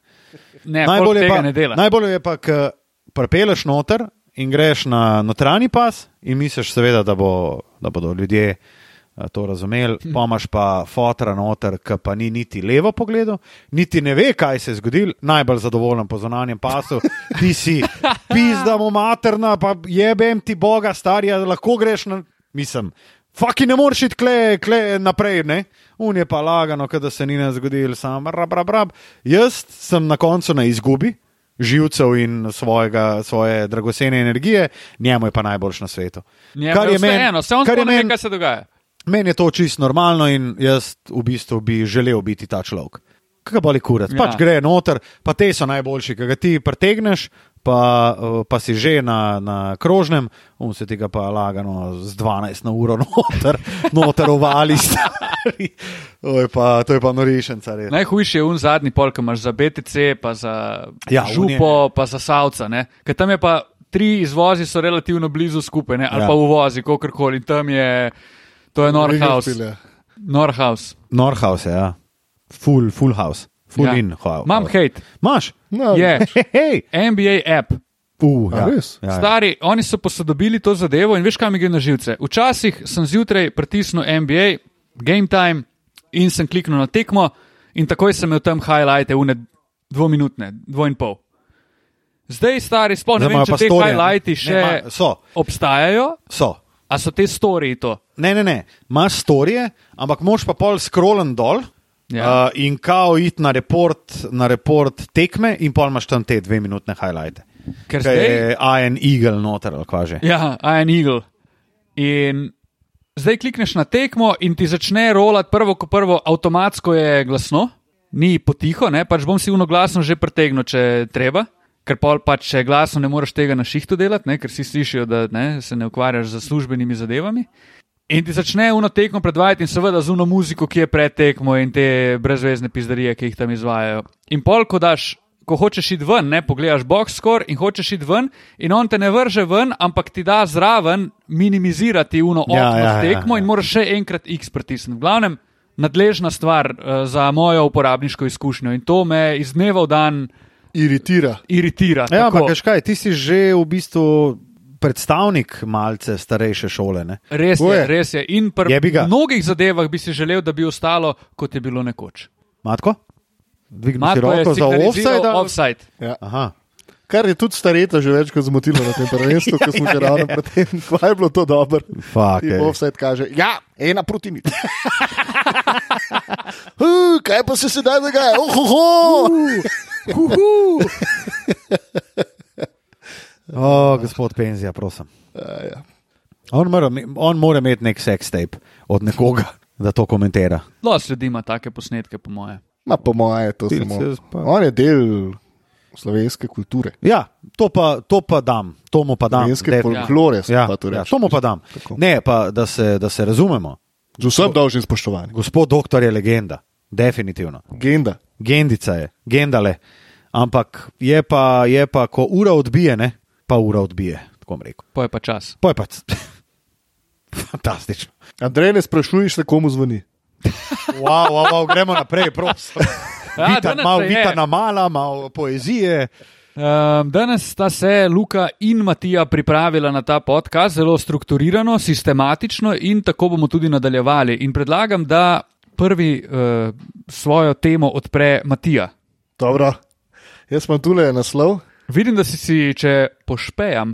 Speaker 2: Ne, najbolje tega
Speaker 1: pa,
Speaker 2: ne dela.
Speaker 1: najbolje je pa, ko prepeleš noter in greš na notranji pas, in misliš, seveda, da, bo, da bodo ljudje eh, to razumeli. Pomaž pa fotra noter, ki pa ni niti levo pogledal, niti ne ve, kaj se je zgodil. Najbolj zadovoljen po zonanjem pasu, ti si pizdamo materna, pa jebem ti boga, starja, lahko greš na. Mislim, Faki ne moreš iti kle, kle naprej, ne? Un je pa lagano, kot da se ni ne zgodil, sam rab, rab, rab. Jaz sem na koncu na izgubi živcev in svojega, svoje dragocene energije, njemu je pa najboljš na svetu.
Speaker 2: Kar je meni, vse on
Speaker 1: kar je
Speaker 2: spomni,
Speaker 1: meni-
Speaker 2: kaj se dogaja.
Speaker 1: meni je to čisto normalno in jaz v bistvu bi želel biti ta človek. Kaj boli kurat, ja.
Speaker 2: Ja.
Speaker 1: pač gre noter, pa te so najboljši, ki ga ti pretegneš, pa, eh, pa si že na, na krožnem, on se tega pa lagano z 12 na uro [laughs] noter, noter ovali stari. To je pa, to je pa norišenca. res.
Speaker 2: Najhujši je un zadnji pol, ki imaš za BTC, pa za
Speaker 1: Ja,
Speaker 2: ja,
Speaker 1: un je-
Speaker 2: župo, pa za savca. ne. Ker tam je pa tri izvozi so relativno blizu skupaj, ne? ali
Speaker 1: Ja.
Speaker 2: ja. pa uvozi, kakorkoli. In Tam je, to je Norhaus.
Speaker 3: Ringelspiel, ja.
Speaker 2: Norhaus.
Speaker 1: Norhaus je, ja. full, full house, full ja. in house.
Speaker 2: Imam hate,
Speaker 1: Maš?
Speaker 3: No,
Speaker 2: Je.
Speaker 1: [laughs] Hej, hej.
Speaker 2: NBA app.
Speaker 1: Uh,
Speaker 3: A,
Speaker 1: ja.
Speaker 3: res?
Speaker 1: Ja, ja.
Speaker 2: Stari, oni so posodobili to zadevo in veš, kaj mi gre na živce. Včasih sem zjutraj pritisnil NBA, game time in sem kliknil na tekmo in takoj sem imel tam highlighte, une dvominutne, dvo in pol. Zdaj, stari, sploh ne
Speaker 1: Zdaj
Speaker 2: vem,
Speaker 1: imajo
Speaker 2: če
Speaker 1: pa
Speaker 2: te
Speaker 1: storije.
Speaker 2: highlighti
Speaker 1: Ne,
Speaker 2: še
Speaker 1: ma- so.
Speaker 2: obstajajo,
Speaker 1: So.
Speaker 2: a so te storiji to.
Speaker 1: Ne, ne, ne. imaš storije, ampak moš pa pol scrollen dol. Ja.
Speaker 2: Ja.
Speaker 1: Uh, in kao id na report, na report tekme, in pol imaš tam te dve minutne highlighte.
Speaker 2: Ker
Speaker 1: Kaj eh,
Speaker 2: zdaj-
Speaker 1: je Ian Eagle noter, ali kva že.
Speaker 2: Ja, Ian Eagle. In zdaj klikneš na tekmo in ti začne rolati prvo, ko prvo, avtomatsko je glasno, ni potiho, ne? pač bom si unoglasno že pretegnil, če treba. Ker pol pač če je glasno ne moreš tega na šihtu delati, ne? ker si slišijo, da ne, se ne ukvarjaš z službenimi zadevami. In ti začne uno tekmo predvajati, in seveda z uno muziko, ki je pred tekmo in te brezvezne pizdarije, ki jih tam izvajajo. In pol, ko daš, ko hočeš iti ven, ne pogledaš box score in hočeš iti ven, in on te ne vrže ven, ampak ti da zraven minimizirati uno okno
Speaker 1: Ja,
Speaker 2: ja, ja,
Speaker 1: ja, ja,
Speaker 2: tekmo
Speaker 1: ja.
Speaker 2: in moraš še enkrat X pritisniti. V glavnem, nadležna stvar eh, za mojo uporabniško izkušnjo in to me iz dneva v dan
Speaker 3: Iritira.
Speaker 2: iritira.
Speaker 1: Ja, ampak
Speaker 2: Tako.
Speaker 1: veš kaj, ti si že v bistvu predstavnik malce starejše šole. Ne?
Speaker 2: Res
Speaker 1: Tako
Speaker 2: je,
Speaker 1: je.
Speaker 2: res je. In pri
Speaker 1: Jebi ga.
Speaker 2: mnogih zadevah bi si želel, da bi ostalo, kot je bilo nekoč.
Speaker 1: Matko? Dvigneš
Speaker 2: Matko je
Speaker 1: roko za
Speaker 2: signaliziral
Speaker 1: offside?
Speaker 2: offside.
Speaker 3: Ja.
Speaker 1: Aha.
Speaker 3: Kar je tudi stareta že večkrat zmotilo na tem prvenstvu, ko smo
Speaker 1: [laughs] Ja,
Speaker 3: že ravno pred tem, kva je bilo to dobro.
Speaker 1: Fuck,
Speaker 3: In
Speaker 1: ej.
Speaker 3: offset kaže, ja, ena proti
Speaker 1: [laughs]
Speaker 3: nič. Uh, kaj pa se sedaj dogaja? Ohoho!
Speaker 1: O, gospod Penzija, prosim.
Speaker 3: A, ja.
Speaker 1: On mora, on mora imeti nek sex tape od nekoga, da to komentira.
Speaker 2: Los ljudi ima take posnetke, po moje.
Speaker 3: Ma po moje je to
Speaker 1: Ti
Speaker 3: samo.
Speaker 1: se spa-
Speaker 3: On je del slovenske kulture,
Speaker 1: Ja, to pa, to pa dam, to mu pa dam.
Speaker 3: slovenske
Speaker 1: definitivno.
Speaker 3: folklore. se
Speaker 1: Ja,
Speaker 3: pa to
Speaker 1: ja,
Speaker 3: reče.
Speaker 1: to mu pa dam.
Speaker 3: Tako.
Speaker 1: Ne, pa da se, da se razumemo.
Speaker 3: Z vsem dolžnim spoštovanjem.
Speaker 1: Gospod doktor je legenda, definitivno.
Speaker 3: Genda.
Speaker 1: Gendica je, gendale. Ampak je pa, je pa ko ura odbije, ne? pa ura odbije, tako bom rekel.
Speaker 2: Pa je pa čas.
Speaker 1: Poj pa. c- [laughs] Fantastično.
Speaker 3: Andrej, ne sprašuješ, se komu zvoni.
Speaker 1: Wow, wow, wow, gremo naprej, prosim.
Speaker 2: Ja,
Speaker 1: [laughs] Vita,
Speaker 2: danes
Speaker 1: malo
Speaker 2: se je.
Speaker 1: vita na mala, malo poezije.
Speaker 2: Um, danes sta se Luka in Matija pripravila na ta podcast, zelo strukturirano, sistematično in tako bomo tudi nadaljevali. In predlagam, da prvi uh, svojo temo odpre Matija.
Speaker 3: Dobro. Jaz imam tule naslov.
Speaker 2: Vidim, da si, si če pošpejam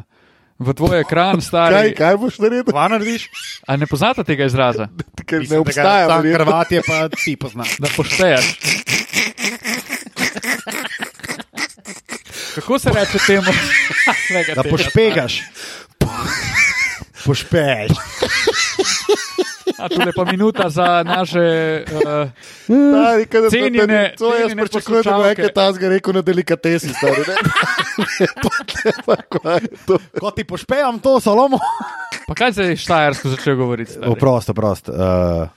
Speaker 2: v tvoj [laughs] ekran,
Speaker 3: Kaj,
Speaker 2: stari.
Speaker 3: kaj boš naredil?
Speaker 1: Kva narediš?
Speaker 2: A ne poznate tega izraza?
Speaker 3: Ker ne obstaja. verjetno.
Speaker 1: Hrvatije pa ti poznaš.
Speaker 2: Da poštejaš. Kako se reče temu? [laughs] Glej ga
Speaker 1: Da
Speaker 2: tega.
Speaker 1: pošpegaš. Pošpeš.
Speaker 2: A, tule pa minuta za naše uh,
Speaker 3: Stari, kaj da se
Speaker 2: Cenjene-
Speaker 3: ne. To jaz
Speaker 2: cenjene
Speaker 3: pričakujem, da bo
Speaker 2: poslušalke.
Speaker 3: nekaj tazga rekel na delikatesi, stari.
Speaker 2: [laughs]
Speaker 3: Ne, ne, to ne, pa kva je to.
Speaker 1: Ko ti pošpejem to salomo.
Speaker 2: Pa kaj se je štajersko začel govoriti? stari?
Speaker 1: Oprost, oprost. Uh,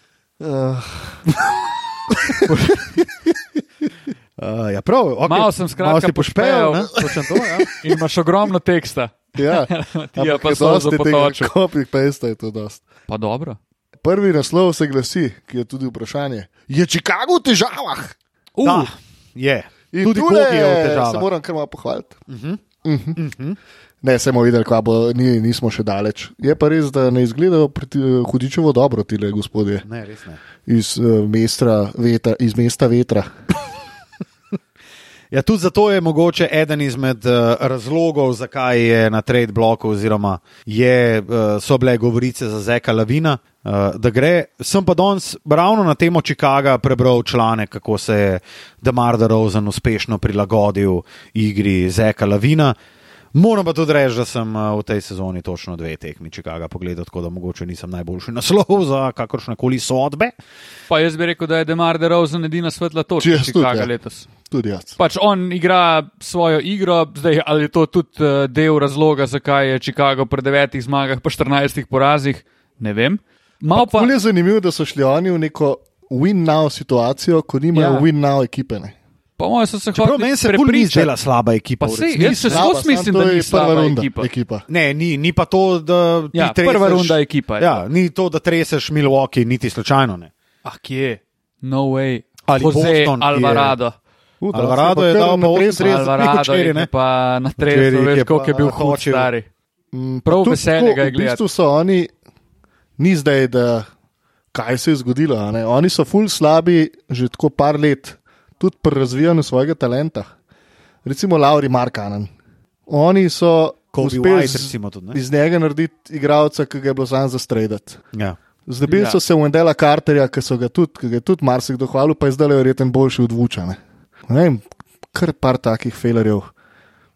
Speaker 3: Ah,
Speaker 1: uh, ja, prav, okay.
Speaker 2: Malo sem skratka
Speaker 1: si
Speaker 2: pošpejal,
Speaker 1: pošpejal, ne?
Speaker 2: točno to, ja. In imaš ogromno teksta. [laughs]
Speaker 3: Ja,
Speaker 2: Ti ja,
Speaker 3: Ampak
Speaker 2: pa
Speaker 3: je
Speaker 2: so
Speaker 3: dosti tega
Speaker 2: zapotočil.
Speaker 3: copy-paste je to dost.
Speaker 2: Pa dobro.
Speaker 3: Prvi naslov se glasi, ki je tudi vprašanje. Je Chicago v težavah?
Speaker 2: Uh,
Speaker 1: Da, je.
Speaker 3: In
Speaker 1: Tudi
Speaker 3: tule
Speaker 1: Gogi je v
Speaker 3: Se
Speaker 1: težavah.
Speaker 3: moram kar malo pohvaliti. Uh -huh. Uh
Speaker 2: Mhm.
Speaker 3: -huh. Ne, samo videl, kva bo, ni, nismo še daleč. Je pa res, da ne izgledajo proti- hudičevo dobro ti le gospodje
Speaker 1: Ne, res ne.
Speaker 3: iz, uh, mestra, vetra, iz mesta vetra.
Speaker 1: Ja, tudi zato je mogoče eden izmed uh, razlogov, zakaj je na trade bloku, oziroma je, uh, so bile govorice za Zeka Lavina, uh, da gre. Sem pa danes ravno na temo Chicaga prebral članek, kako se je Demar DeRozan uspešno prilagodil igri Zeka Lavina. Moram pa tudi reči, da sem eh, v tej sezoni točno dve tekmi Chicaga pogledal, tako da mogoče nisem najboljši naslov [laughs] za kakršne koli sodbe.
Speaker 2: pa jaz bi rekel, da je Demar DeRozan edina svetla
Speaker 3: Če
Speaker 2: točka
Speaker 3: jaz tudi,
Speaker 2: Chicaga
Speaker 3: ja.
Speaker 2: letos.
Speaker 3: Tudi jaz.
Speaker 2: Pač on igra svojo igro, zdaj ali je to tudi eh, del razloga, zakaj je Chicago pri devetih zmagah, pa 14 porazih, ne vem. Mal pa,
Speaker 3: Bolje je zanimivo, da so šli oni v neko win-now situacijo, ko nimajo
Speaker 2: Ja.
Speaker 3: ja. win-now ekipe. Ne?
Speaker 2: po mojem, so se
Speaker 1: Čeprav
Speaker 2: hoteli
Speaker 1: meni se bolj ni
Speaker 2: prepričati.
Speaker 1: zdela slaba ekipa.
Speaker 2: Pa
Speaker 1: v
Speaker 2: sej,
Speaker 1: resnici.
Speaker 2: jaz se
Speaker 3: Slaba,
Speaker 2: skozi
Speaker 3: samo
Speaker 2: mislim,
Speaker 3: to
Speaker 2: da
Speaker 3: je
Speaker 2: ni slaba
Speaker 3: runda,
Speaker 2: ekipa.
Speaker 3: ekipa.
Speaker 1: Ne, ni, ni pa to, da ti
Speaker 2: Ja,
Speaker 1: treseš.
Speaker 2: prva runda ekipa je
Speaker 1: Ja, ni to, da treseš Milwaukee, niti slučajno ne.
Speaker 2: Ah, kje? No way.
Speaker 1: Ali
Speaker 2: Jose
Speaker 1: Boston, ki je-
Speaker 2: Alvarado.
Speaker 3: U, da,
Speaker 1: Alvarado
Speaker 3: so pa
Speaker 1: je
Speaker 3: kar
Speaker 1: dal pa
Speaker 3: naprej
Speaker 1: 38
Speaker 3: zrezali.
Speaker 1: Alvarado.
Speaker 2: Alvarado
Speaker 1: včeraj,
Speaker 2: je
Speaker 1: ne?
Speaker 2: pa na
Speaker 1: Včeraj
Speaker 2: tresu,
Speaker 1: jih
Speaker 2: veš,
Speaker 1: je
Speaker 2: koliko je
Speaker 1: pa
Speaker 2: bil hud
Speaker 1: hočil.
Speaker 2: stari.
Speaker 3: Mm,
Speaker 2: Prav
Speaker 3: pa tudi
Speaker 2: veselega
Speaker 3: tako,
Speaker 2: je
Speaker 3: V bistvu so oni, ni zdaj, da kaj se je zgodilo. a ne. Oni so ful slabi že tako par let, tudi pri razvijanju svojega talenta. Recimo Lauri Markanen. Oni so
Speaker 1: Kobe
Speaker 3: uspeli
Speaker 1: White,
Speaker 3: z-
Speaker 1: recimo tudi, ne?
Speaker 3: iz njega narediti igralca, ki ga je bilo sam zastredati.
Speaker 1: Ja.
Speaker 3: Znebili
Speaker 2: Ja.
Speaker 3: ja. so se Wendela Carterja, ki so ga tudi, ki ga je tudi marsikdo hvalil, pa je zdaj le verjeten boljši od Vuča. Ne? Ne vem, kar par takih failerjev.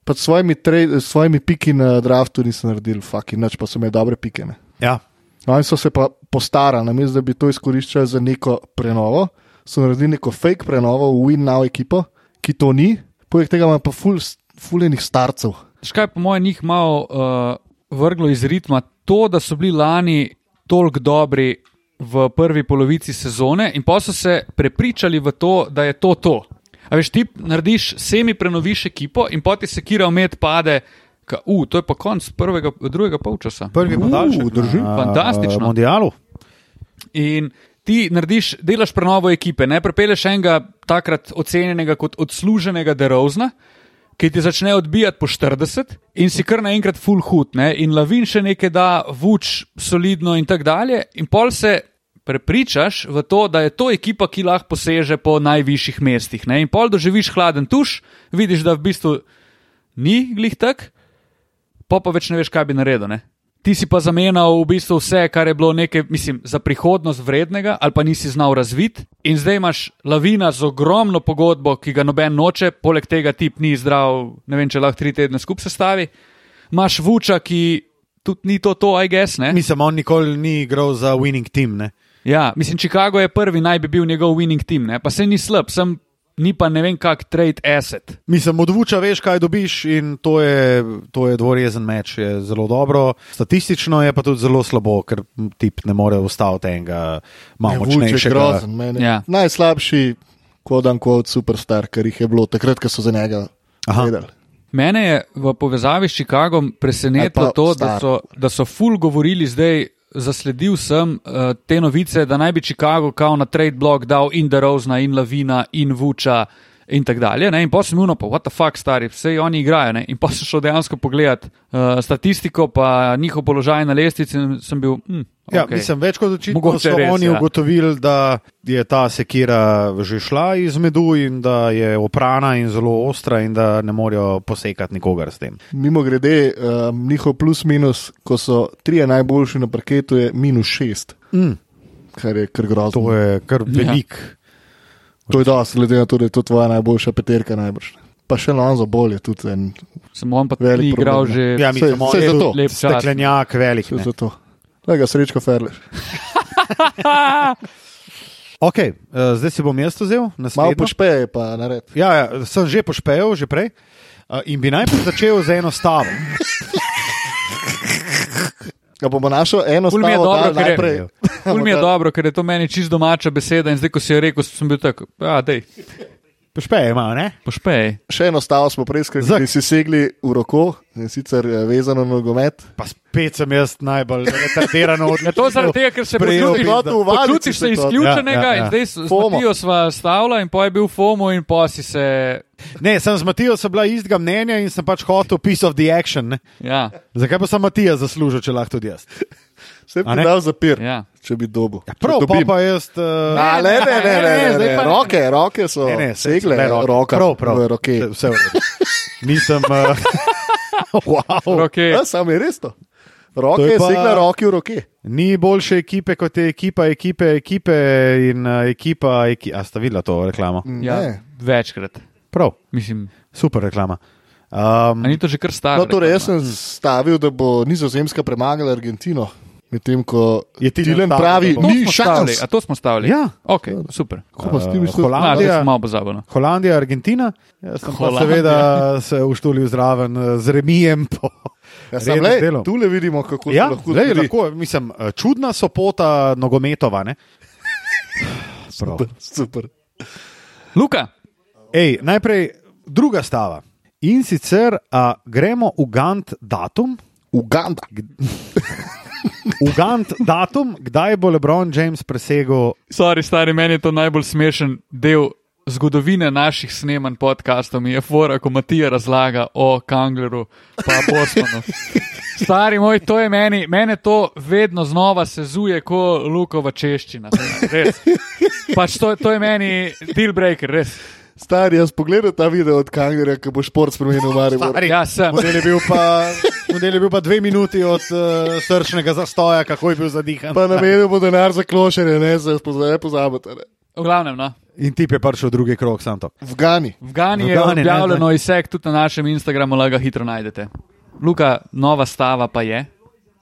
Speaker 3: Pa s svojimi, tre, s svojimi piki na draftu niso naredili, faki, nič pa so imeli dobre pike. Ne?
Speaker 1: Ja.
Speaker 3: Oni so se pa postarali, namesto da bi to izkoriščali za neko prenovo, so naredili neko fake prenovo v WinNow ekipo, ki to ni, poleg tega ima pa ful, fuljenih starcev.
Speaker 2: Škaj po mojem njih malo uh, vrglo iz ritma to, da so bili lani toliko dobri v prvi polovici sezone in pa so se prepričali v to, da je to to. A veš, ti narediš semi prenoviš ekipo in poti se kira umet pade, ka, uh, to je pa konc prvega, drugega polčasa.
Speaker 1: Prvi
Speaker 3: U,
Speaker 1: podaljšek
Speaker 3: drži.
Speaker 1: na,
Speaker 2: Fantastično.
Speaker 1: eh, Mondialu.
Speaker 2: In ti narediš, delaš prenovo ekipe, ne prepeleš enega takrat ocenjenega kot odsluženega derozna, ki ti začne odbijati po 40 in si kar naenkrat full hud, ne? in lavin še nekaj da, vuč solidno in tako dalje, in pol se. Prepričaš v to, da je to ekipa, ki lahko poseže po najvišjih mestih. Ne? In pol doživiš hladen tuš, vidiš, da v bistvu ni glih tak, pa pa več ne veš, kaj bi naredil. Ne? Ti si pa zamenjal v bistvu vse, kar je bilo nekaj, mislim, za prihodnost vrednega, ali pa nisi znal razviti. In zdaj imaš lavina z ogromno pogodbo, ki ga noben noče, poleg tega tip ni zdrav, ne vem, če lahko tri tedne skupaj sestavi. Imaš vuča, ki tudi ni to, to, I guess. Ne?
Speaker 1: Mislim, on nikoli ni igral za winning team. Ne?
Speaker 2: Ja, mislim, Chicago je prvi, naj bi bil njegov winning team, ne? pa se ni slab, sem ni pa ne vem kak trade asset.
Speaker 1: Mislim, odvuča veš, kaj dobiš, in to je, to je dvorezen meč. Je zelo dobro, statistično je pa tudi zelo slabo, ker tip ne more ustaviti enega malo
Speaker 3: Vuč je
Speaker 1: močnejšega.
Speaker 3: grozen, meni.
Speaker 2: Ja.
Speaker 3: Ja. Najslabši, kot dan kot superstar, kar jih je bilo takrat, ko so za njega
Speaker 1: Aha.
Speaker 3: gledali.
Speaker 2: Mene je v povezavi s Chicagom presenetilo
Speaker 3: Ali pa
Speaker 2: to, da
Speaker 3: star.
Speaker 2: so, da so ful govorili zdaj. Zasledil sem uh, te novice, da naj bi Chicago kao na trade block dal in Derozna, in Lavina, in Vuča, in tako dalje. Ne? In pa sem uno, pa what the fuck, stari, vse oni igrajo. Ne? In pa sem šel dejansko pogledat uh, statistiko, pa njihov položaj na lestvici in sem bil. Hm,
Speaker 1: Ja,
Speaker 2: okay.
Speaker 1: okay. Mislim, več kot očitno
Speaker 2: Mogoče
Speaker 1: so
Speaker 2: res,
Speaker 1: res, oni
Speaker 2: ja.
Speaker 1: ja. ugotovili, da je ta sekira že šla iz medu in da je oprana in zelo ostra in da ne morejo posekati nikogar s tem.
Speaker 3: Mimo grede, um, njihov plus minus, ko so trije najboljši na parketu, je minus šest,
Speaker 1: Mm,
Speaker 3: kar je kar grozno.
Speaker 1: to je kar
Speaker 2: Ja.
Speaker 1: velik.
Speaker 3: To je dosti, glede na to, da je to tvoja najboljša peterka najbrž. Pa še Lonzo bolj je tudi en.
Speaker 2: Samo on pa ni
Speaker 3: Velik
Speaker 2: igral
Speaker 3: problem,
Speaker 2: že.
Speaker 1: Ja, ja
Speaker 3: Saj-
Speaker 1: mislim, on
Speaker 3: saj
Speaker 1: je
Speaker 3: zato.
Speaker 1: tudi
Speaker 2: Lep čas.
Speaker 1: steklenjak velik.
Speaker 3: Vse
Speaker 1: ne.
Speaker 3: za to. Lega srečko Ferleš.
Speaker 1: Okay, uh, zdaj si bom jaz to vzel,
Speaker 3: Malo
Speaker 1: naslednjo.
Speaker 3: pošpeje pa nared.
Speaker 1: Ja, ja, sem že pošpejal, že prej. Uh, in bi najprej začel z eno stavo.
Speaker 3: Ga bomo našel eno
Speaker 2: Ful mi je
Speaker 3: stavo
Speaker 2: dobro,
Speaker 3: dal
Speaker 2: ker je-
Speaker 3: najprej.
Speaker 2: [laughs] Ful
Speaker 3: [laughs]
Speaker 2: mi je dobro, ker je to meni čist domača beseda in zdaj, ko si jo rekel, sem bil tako, ja, dej,
Speaker 1: Pošpeje ima, ne?
Speaker 2: pošpej.
Speaker 3: Še eno stavo smo
Speaker 1: Zak.
Speaker 3: preizkusili, si segli v roko, in sicer eh, vezano na nogomet.
Speaker 1: Pa spet sem jaz najbolj retardiran od
Speaker 2: Ja, to je zaradi tega, ker se
Speaker 1: Sprejel
Speaker 2: počutiš,
Speaker 1: bi, da-
Speaker 2: počutiš se izključenega
Speaker 1: Ja,
Speaker 2: ja, ja, ja. in
Speaker 1: ja, ja.
Speaker 2: zdaj s- s
Speaker 3: Fomo.
Speaker 2: Matijo sva stavila in pa je bil FOMO in pa si se.
Speaker 1: [laughs] Ne, sem z Matijo sem bila istega mnenja in sem pač hotel piece of the action. Ne?
Speaker 2: Ja,
Speaker 1: Zakaj pa sem Matija zaslužil, če lahko tudi jaz?
Speaker 3: Se
Speaker 1: A
Speaker 3: bi
Speaker 1: ne?
Speaker 3: dal zapir,
Speaker 2: ja.
Speaker 3: če bi dobil.
Speaker 1: Ja, prav,
Speaker 3: Če
Speaker 1: pa,
Speaker 3: dobim.
Speaker 1: pa jaz. Uh,
Speaker 3: A, ne, ne, ne, ne, ne,
Speaker 1: zdaj
Speaker 3: ne,
Speaker 1: pa ne.
Speaker 3: ne. Roke, roke so
Speaker 1: Ne, ne, saj
Speaker 3: segle,
Speaker 1: so bile roke.
Speaker 3: roka,
Speaker 1: prav, prav.
Speaker 3: v roke.
Speaker 1: Vse- Vse v redu. Nisem. Uh, [laughs] wow.
Speaker 2: Okay.
Speaker 3: Ja, sam je res to.
Speaker 1: To
Speaker 3: Roke
Speaker 1: je
Speaker 3: je
Speaker 1: pa-
Speaker 3: segla, roke v roke.
Speaker 1: [laughs] Ni boljše ekipe kot je ekipa, ekipe, ekipe in uh, ekipa. Eki a ste videli to reklamo?
Speaker 3: Mm.
Speaker 2: Ja,
Speaker 3: Ne.
Speaker 2: večkrat.
Speaker 1: Prav,
Speaker 2: Mislim,
Speaker 1: super reklama.
Speaker 2: a
Speaker 1: Um,
Speaker 2: ni to že kar staro.
Speaker 3: No, torej, jaz sem stavil, da bo Nizozemska premagala Argentino, medtem ko
Speaker 1: Je Tilen
Speaker 3: Tilen
Speaker 1: stavil,
Speaker 3: pravi,
Speaker 1: da bo-
Speaker 3: ni
Speaker 2: stavili. A
Speaker 3: šans.
Speaker 2: to smo stavili.
Speaker 1: Ja.
Speaker 2: Ok, super.
Speaker 3: Ko pa si ti
Speaker 1: Eh,
Speaker 3: mislil?
Speaker 1: Holand-
Speaker 2: A,
Speaker 1: Holandija.
Speaker 2: zdaj sem malo no. pozabil.
Speaker 1: Holandija, Argentina. Jaz sem pa
Speaker 2: Holandija.
Speaker 1: seveda se uštulil zraven eh, z remijem. Po,
Speaker 3: Ja, sam,
Speaker 1: rednem
Speaker 3: lej,
Speaker 1: delu.
Speaker 3: tule vidimo, kako
Speaker 1: Ja,
Speaker 3: se lahko
Speaker 1: lej,
Speaker 3: zgodi.
Speaker 1: lahko, mislim, eh, čudna so pota nogometova. ne. Prav.
Speaker 3: Super, [laughs] Super.
Speaker 2: Luka,
Speaker 1: Ej, najprej druga stava. In sicer a, gremo v Gant datum,
Speaker 3: Uganda. [laughs]
Speaker 1: v [laughs] Gant datum, kdaj bo LeBron James presegel.
Speaker 2: sorry, stari, meni je to najbolj smešen del zgodovine naših snemanj podkastov. Mi je fora, ko Matija razlaga o Kangleru pa
Speaker 1: [laughs]
Speaker 2: Bosmanu. Stari moj, to je meni, mene to vedno znova sezuje, ko Lukova češčina. Res. Pač to, to je meni deal breaker, res.
Speaker 3: Stari, jaz pogledam ta video od Kangarja, ki bo šport spremenil v Maribor.
Speaker 2: Ja, sem.
Speaker 1: Model je bil pa, model je bil pa dve minuti od uh, srčnega zastoja, kako je bil zadihan.
Speaker 3: Pa namenil bo denar za klošenje, ne za pozabite. pozabite ne.
Speaker 2: V glavnem, no.
Speaker 1: In tip je prišel v drugi krog, sam to.
Speaker 3: V Gani.
Speaker 2: V Gani
Speaker 1: V
Speaker 2: je
Speaker 1: Gani, ne,
Speaker 2: objavljeno izsek tudi na našem Instagramu, lahko ga hitro najdete. Luka, nova stava pa je.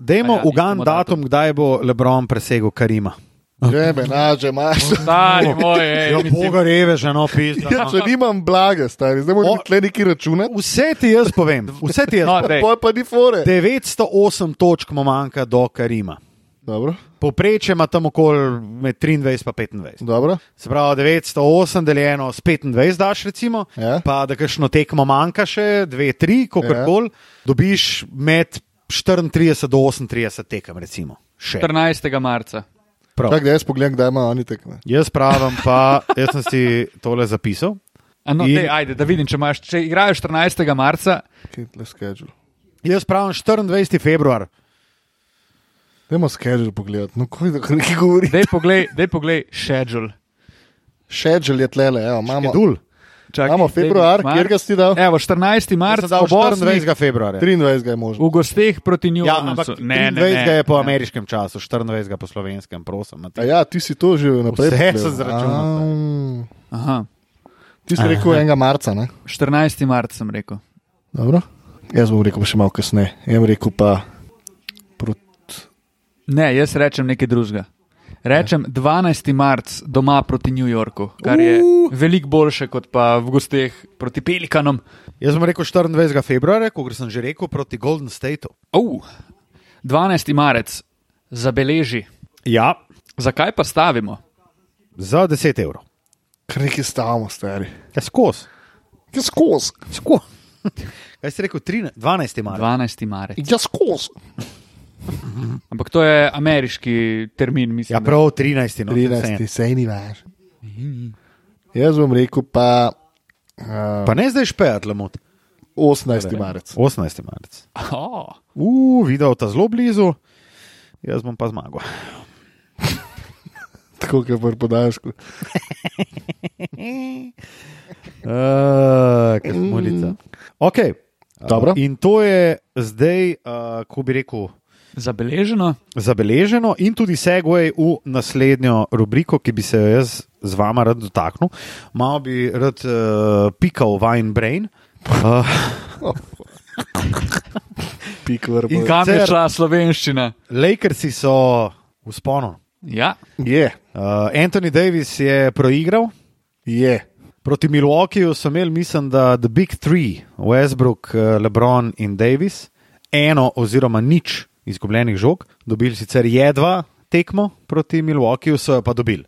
Speaker 1: Dajmo
Speaker 2: Aja,
Speaker 1: v Gant
Speaker 2: iščemo
Speaker 1: datum, kdaj bo LeBron presegel Karima.
Speaker 3: Že me
Speaker 1: [laughs]
Speaker 3: naže, imaš.
Speaker 2: Stari moj, ej,
Speaker 1: Ja,
Speaker 2: mislim,
Speaker 1: Boga revež, no, pizda.
Speaker 3: Ja, če nimam blaga, stari, zdaj
Speaker 1: O.
Speaker 3: moram tle neki računati.
Speaker 1: Vse ti jaz povem, vse ti jaz
Speaker 2: No,
Speaker 1: povem.
Speaker 2: dej.
Speaker 3: Poj pa ni fore.
Speaker 1: 908 točk mu manjka do Karima.
Speaker 3: Dobro,
Speaker 1: Poprečje ima tam okoli med 23 in 25.
Speaker 3: dobro.
Speaker 1: Se pravi, 908 deljeno s 25, daš recimo,
Speaker 3: Ja.
Speaker 1: pa da kakšno tekmo manjka še, 2, 3, kako
Speaker 3: Ja.
Speaker 1: koli, dobiš med 34 do 38 tekem, recimo. Še.
Speaker 2: 14. marca.
Speaker 1: Prav.
Speaker 3: Čak, da jaz pogledam, kdaj imajo oni tekme.
Speaker 1: Jaz pravim pa, jaz sem si tole zapisal.
Speaker 2: A No,
Speaker 1: In-
Speaker 2: In... dej, ajde, da vidim, če, imaš, če igrajo 14. marca,
Speaker 3: Kje je tle schedule?
Speaker 1: Jaz pravim 24. februar.
Speaker 3: Dajmo schedule pogledati, no kaj da neki govori.
Speaker 2: dej poglej, dej poglej schedule.
Speaker 3: Schedule je tlele, evo, imamo.
Speaker 1: Edul.
Speaker 2: Čakaj,
Speaker 3: Imamo
Speaker 2: dej
Speaker 3: februar,
Speaker 2: mar-
Speaker 3: kjer ga si ti dal?
Speaker 2: Evo, 14.
Speaker 1: Jaz sem
Speaker 2: marca,
Speaker 1: dal
Speaker 2: ob 8.
Speaker 1: 24. februarja.
Speaker 3: 23 je možno.
Speaker 2: v gosteh proti New
Speaker 1: Ja, ampak
Speaker 2: Orleansu. ne, ne,
Speaker 1: 23 je
Speaker 2: ne.
Speaker 1: po ameriškem času, 24 po slovenskem, prosim.
Speaker 3: A ja, ti si to že naprej.
Speaker 1: Vse
Speaker 3: pogledal.
Speaker 1: sem zračunal,
Speaker 3: A,
Speaker 2: Aha,
Speaker 3: Ti si rekel enega marca, ne?
Speaker 2: 14. marca sem rekel.
Speaker 3: Dobro. Jaz bom rekel pa še malo kasneje. Jaz bom rekel pa proti.
Speaker 2: Ne, jaz rečem nekaj drugega. Rečem 12. marc doma proti New Yorku, kar je veliko boljše kot pa v gosteh proti Pelikanom.
Speaker 1: Jaz sem rekel 24. februarja, kot sem že rekel, proti Golden Stateu.
Speaker 2: Oh, 12. marec zabeleži.
Speaker 1: Ja,
Speaker 2: Zakaj pa stavimo?
Speaker 1: za 10 evrov.
Speaker 3: Kar nekaj stavimo, stari.
Speaker 1: Ja, skozi.
Speaker 3: Ja, skozi.
Speaker 1: Skozi. [laughs] Kaj si rekel, 13, 12. marca?
Speaker 2: 12. marec.
Speaker 3: Ja, skozi.
Speaker 2: Ampak to je ameriški termin, mislim.
Speaker 1: Ja, prav 13. No,
Speaker 3: 13,
Speaker 1: 13.
Speaker 3: sej ni več. Jaz bom rekel pa uh,
Speaker 1: Pa ne zdaj špejat, lemot.
Speaker 3: 18. marec.
Speaker 1: 18. marec.
Speaker 2: Oh,
Speaker 1: Uf, videl ta zelo blizu, jaz bom pa [laughs] zmagal.
Speaker 3: Tako kot v podaljšku.
Speaker 1: Uh, kaj smo lica. Okay.
Speaker 3: Dobro.
Speaker 1: In to je zdaj, uh, ko bi rekel,
Speaker 2: zabeleženo.
Speaker 1: zabeleženo in tudi segway v naslednjo rubriko, ki bi se jo jaz z vama rad dotaknil. Malo bi rad uh, pikal Vine Brain. Uh,
Speaker 3: Pik vrbo.
Speaker 1: In
Speaker 2: Kam je
Speaker 1: Cer-
Speaker 2: šla slovenščina?
Speaker 1: Lakersi so v sponu.
Speaker 2: Ja,
Speaker 3: Je.
Speaker 1: Uh, Uh, Anthony Davis je proigral.
Speaker 3: Je.
Speaker 1: Proti Milwaukeeju so imeli, mislim, da The Big Three, Westbrook, eh, LeBron in Davis, eno oziroma nič izgubljenih žog, dobili sicer je dva tekmo proti Milwaukeeju, so jo pa dobili.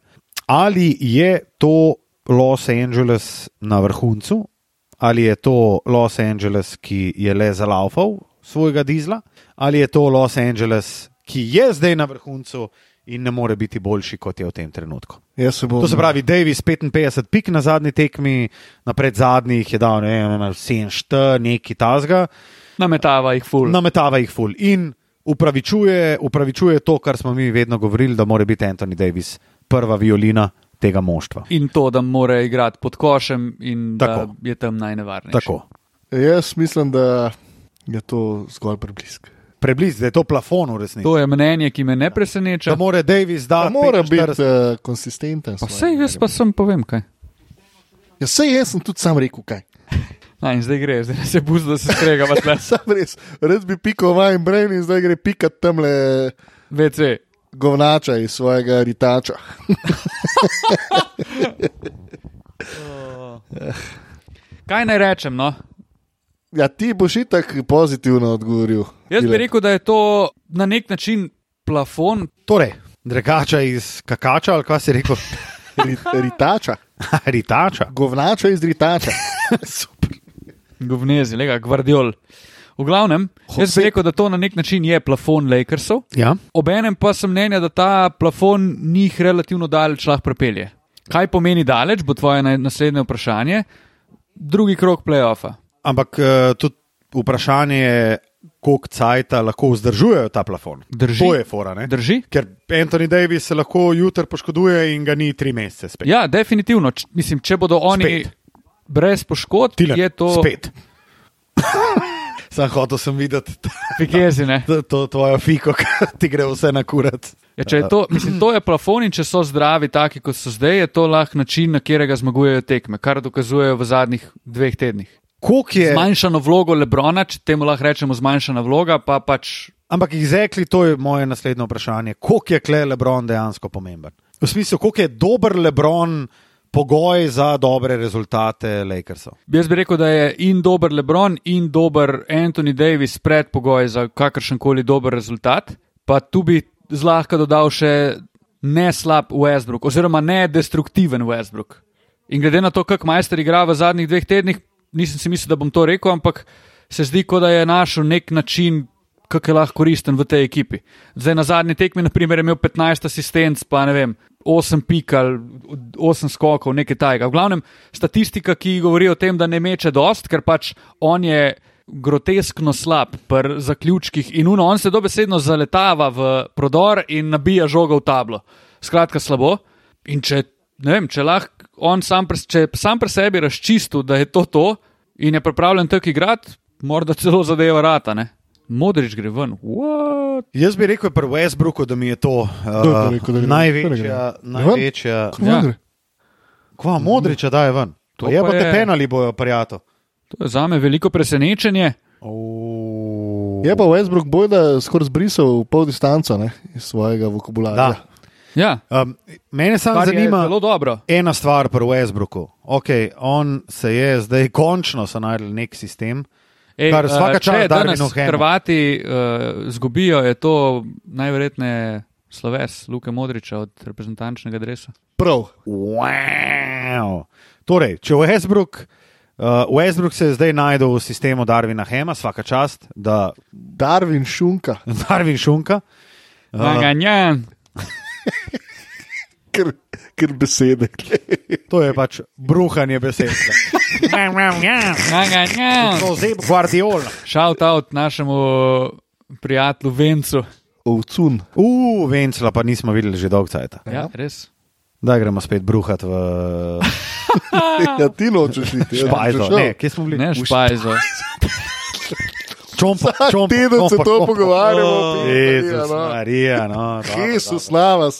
Speaker 1: Ali je to Los Angeles na vrhuncu, ali je to Los Angeles, ki je le zalaufal svojega dizla, ali je to Los Angeles, ki je zdaj na vrhuncu in ne more biti boljši, kot je v tem trenutku.
Speaker 3: Jaz se bom.
Speaker 1: To se pravi, Davis 55 pik na zadnji tekmi, na predzadnjih je dal 7-4, neki tasga,
Speaker 2: Nametava jih ful.
Speaker 1: nametava jih ful. In upravičuje, upravičuje to, kar smo mi vedno govorili, da mora biti Anthony Davis prva violina tega moštva.
Speaker 2: In to, da mora igrati pod košem in da
Speaker 1: Tako.
Speaker 2: je tam najnevarnejši.
Speaker 1: Tako.
Speaker 3: Jaz mislim, da je to zgolj preblisk.
Speaker 1: Preblizu, da je to plafon v resnici.
Speaker 2: To je mnenje, ki me ne preseneča.
Speaker 1: Da mora Davis
Speaker 3: Pa
Speaker 1: dati
Speaker 3: mora biti
Speaker 1: 45.
Speaker 3: uh, konsistenten.
Speaker 2: Pa sej jaz pa sem povem kaj.
Speaker 3: Ja, sej jaz sem tudi sam rekel, kaj. [laughs]
Speaker 2: Na, in zdaj gre, zdaj se buz, da se strega v [laughs] tles.
Speaker 3: Sam res, res bi pikal manj brain in zdaj gre pikat tamle
Speaker 2: VC.
Speaker 3: govnača iz svojega ritača.
Speaker 2: Kaj naj rečem, no?
Speaker 3: Ja, ti boš itak pozitivno odgovoril.
Speaker 2: Jaz bi
Speaker 3: Tile.
Speaker 2: rekel, da je to na nek način plafon.
Speaker 1: Torej, drekača iz kakača ali kaj si rekel, [laughs]
Speaker 3: Ri- Ritača,
Speaker 1: ritača.
Speaker 3: govnača iz ritača.
Speaker 2: Govnezi, lega, gvardiol. V glavnem, jaz bi rekel, da to na nek način je plafon Lakersov.
Speaker 1: Ja.
Speaker 2: Obenem pa sem mnenja, da ta plafon njih relativno daleč lahko prepelje. Kaj pomeni daleč, bo tvoje naj- naslednje vprašanje. Drugi krok playoffa.
Speaker 1: Ampak eh, tudi vprašanje je, koliko cajta lahko vzdržujejo ta plafon.
Speaker 2: Drži.
Speaker 1: To je fora. Ne?
Speaker 2: Drži?
Speaker 1: Ker Anthony Davis se lahko jutri poškoduje in ga ni tri mesece spet.
Speaker 2: Ja, definitivno. Č, mislim, če bodo oni
Speaker 1: Spet.
Speaker 2: spet. brez poškodb,
Speaker 1: Tilen,
Speaker 2: je to
Speaker 1: Spet. [laughs] Sam hotel sem videti t-
Speaker 2: [laughs] Pikezi, ne?
Speaker 1: t- to tvojo fiko, [laughs] ki ti gre vse na kurat.
Speaker 2: Ja, če je to, mislim, to je plafon in če so zdravi, taki kot so zdaj, je to lahko način, na katerega zmagujejo tekme, kar dokazujejo v zadnjih dveh tednih.
Speaker 1: Kolik Eh, je?
Speaker 2: Zmanjšano vlogo Lebrona, če temu lahko rečemo zmanjšana vloga, pa pač
Speaker 1: Ampak izrekli, to je moje naslednje vprašanje. Koliko je Klej Lebron dejansko pomemben? V smislu, koliko je dober Lebron pogoj za dobre rezultate Lakersov?
Speaker 2: Jaz bi rekel, da je in dober Lebron in dober Anthony Davis predpogoj za kakršen koli dober rezultat. Pa tu bi zlahka dodal še ne slab Westbrook, oziroma ne destruktiven Westbrook. In glede na to, kako majster igra v zadnjih dveh tednih, nisem si mislil, da bom to rekel, ampak se zdi, kot da je našel nek način, kako je lahko koristen v tej ekipi. Zdaj na zadnji tekmi, naprimer, je imel 15 asistenc, pa ne vem, 8 pikal, 8 skokov, nekaj tajega. V glavnem, statistika, ki govori o tem, da ne meče dost, ker pač on je groteskno slab pri zaključkih in uno, on se dobesedno zaletava v prodor in nabija žogo v tablo. Skratka, slabo. In če, ne vem, če lahko on sam, pre, če je sam pri sebi razčistil, da je to to in je pripravljen tako igrati, morda celo zadeva rata, ne? Modrič gre ven. What?
Speaker 1: Jaz bi rekel pri Westbrooku, da mi je to
Speaker 3: Kdo
Speaker 1: uh,
Speaker 3: je to rekel, Ja. da gre?
Speaker 1: največja, največja.
Speaker 2: Ja.
Speaker 1: Kva modriča daje ven.
Speaker 2: To
Speaker 1: To je
Speaker 2: pa
Speaker 1: pa te
Speaker 2: je-
Speaker 1: penali bojo prijatelj.
Speaker 2: To je za me veliko presenečenje.
Speaker 3: Oh. Je pa Westbrook bojda skoraj zbrisal pol distanco ne, iz svojega vokabularja.
Speaker 1: Da.
Speaker 2: Ja,
Speaker 1: Um, mene samo
Speaker 2: kar je
Speaker 1: zanima
Speaker 2: zelo dobro.
Speaker 1: ena stvar pri Westbrooku. Okay, on se je zdaj končno so našli nek sistem.
Speaker 2: Ej,
Speaker 1: Kar
Speaker 2: eh,
Speaker 1: vsaka čast
Speaker 2: če
Speaker 1: Darwinu
Speaker 2: danes
Speaker 1: Hamu.
Speaker 2: Hrvati uh, zgubijo, je to najverjetneje sloves Luka Modriča od reprezentančnega dresa.
Speaker 3: Prav,
Speaker 1: Wow. Torej, če Westbrook, uh, Westbrook se je zdaj najdel v sistemu Darvina Hema, vsaka čast, da [laughs]
Speaker 3: Darwin šunka,
Speaker 1: Darvin šunka.
Speaker 2: Ja, ja,
Speaker 3: ker, ker besede. [laughs]
Speaker 1: To je pač bruhanje besed.
Speaker 2: ja, ja.
Speaker 1: [laughs] Zeb Guardiola.
Speaker 2: Shout out našemu prijatelju Vencu.
Speaker 3: Ovcun.
Speaker 1: Uf, Vencla pa nismo videli že dolgo cajt.
Speaker 2: Ja, res.
Speaker 1: Da gremo spet bruhati v
Speaker 2: Ah.
Speaker 3: Ja, ti nočeš iti. ja,
Speaker 1: Špajzo.
Speaker 3: nočeš, ja.
Speaker 1: Ne, kje smo bili?
Speaker 2: Ne, špajzo.
Speaker 1: Čompa, čompa,
Speaker 3: Teden se
Speaker 1: čompa,
Speaker 3: to
Speaker 1: čompa.
Speaker 3: pogovarjamo.
Speaker 1: Oh,
Speaker 3: prijatelji,
Speaker 1: Jezus,
Speaker 3: no.
Speaker 1: Marija, no, dobro, dobro.
Speaker 3: Jezus, navas.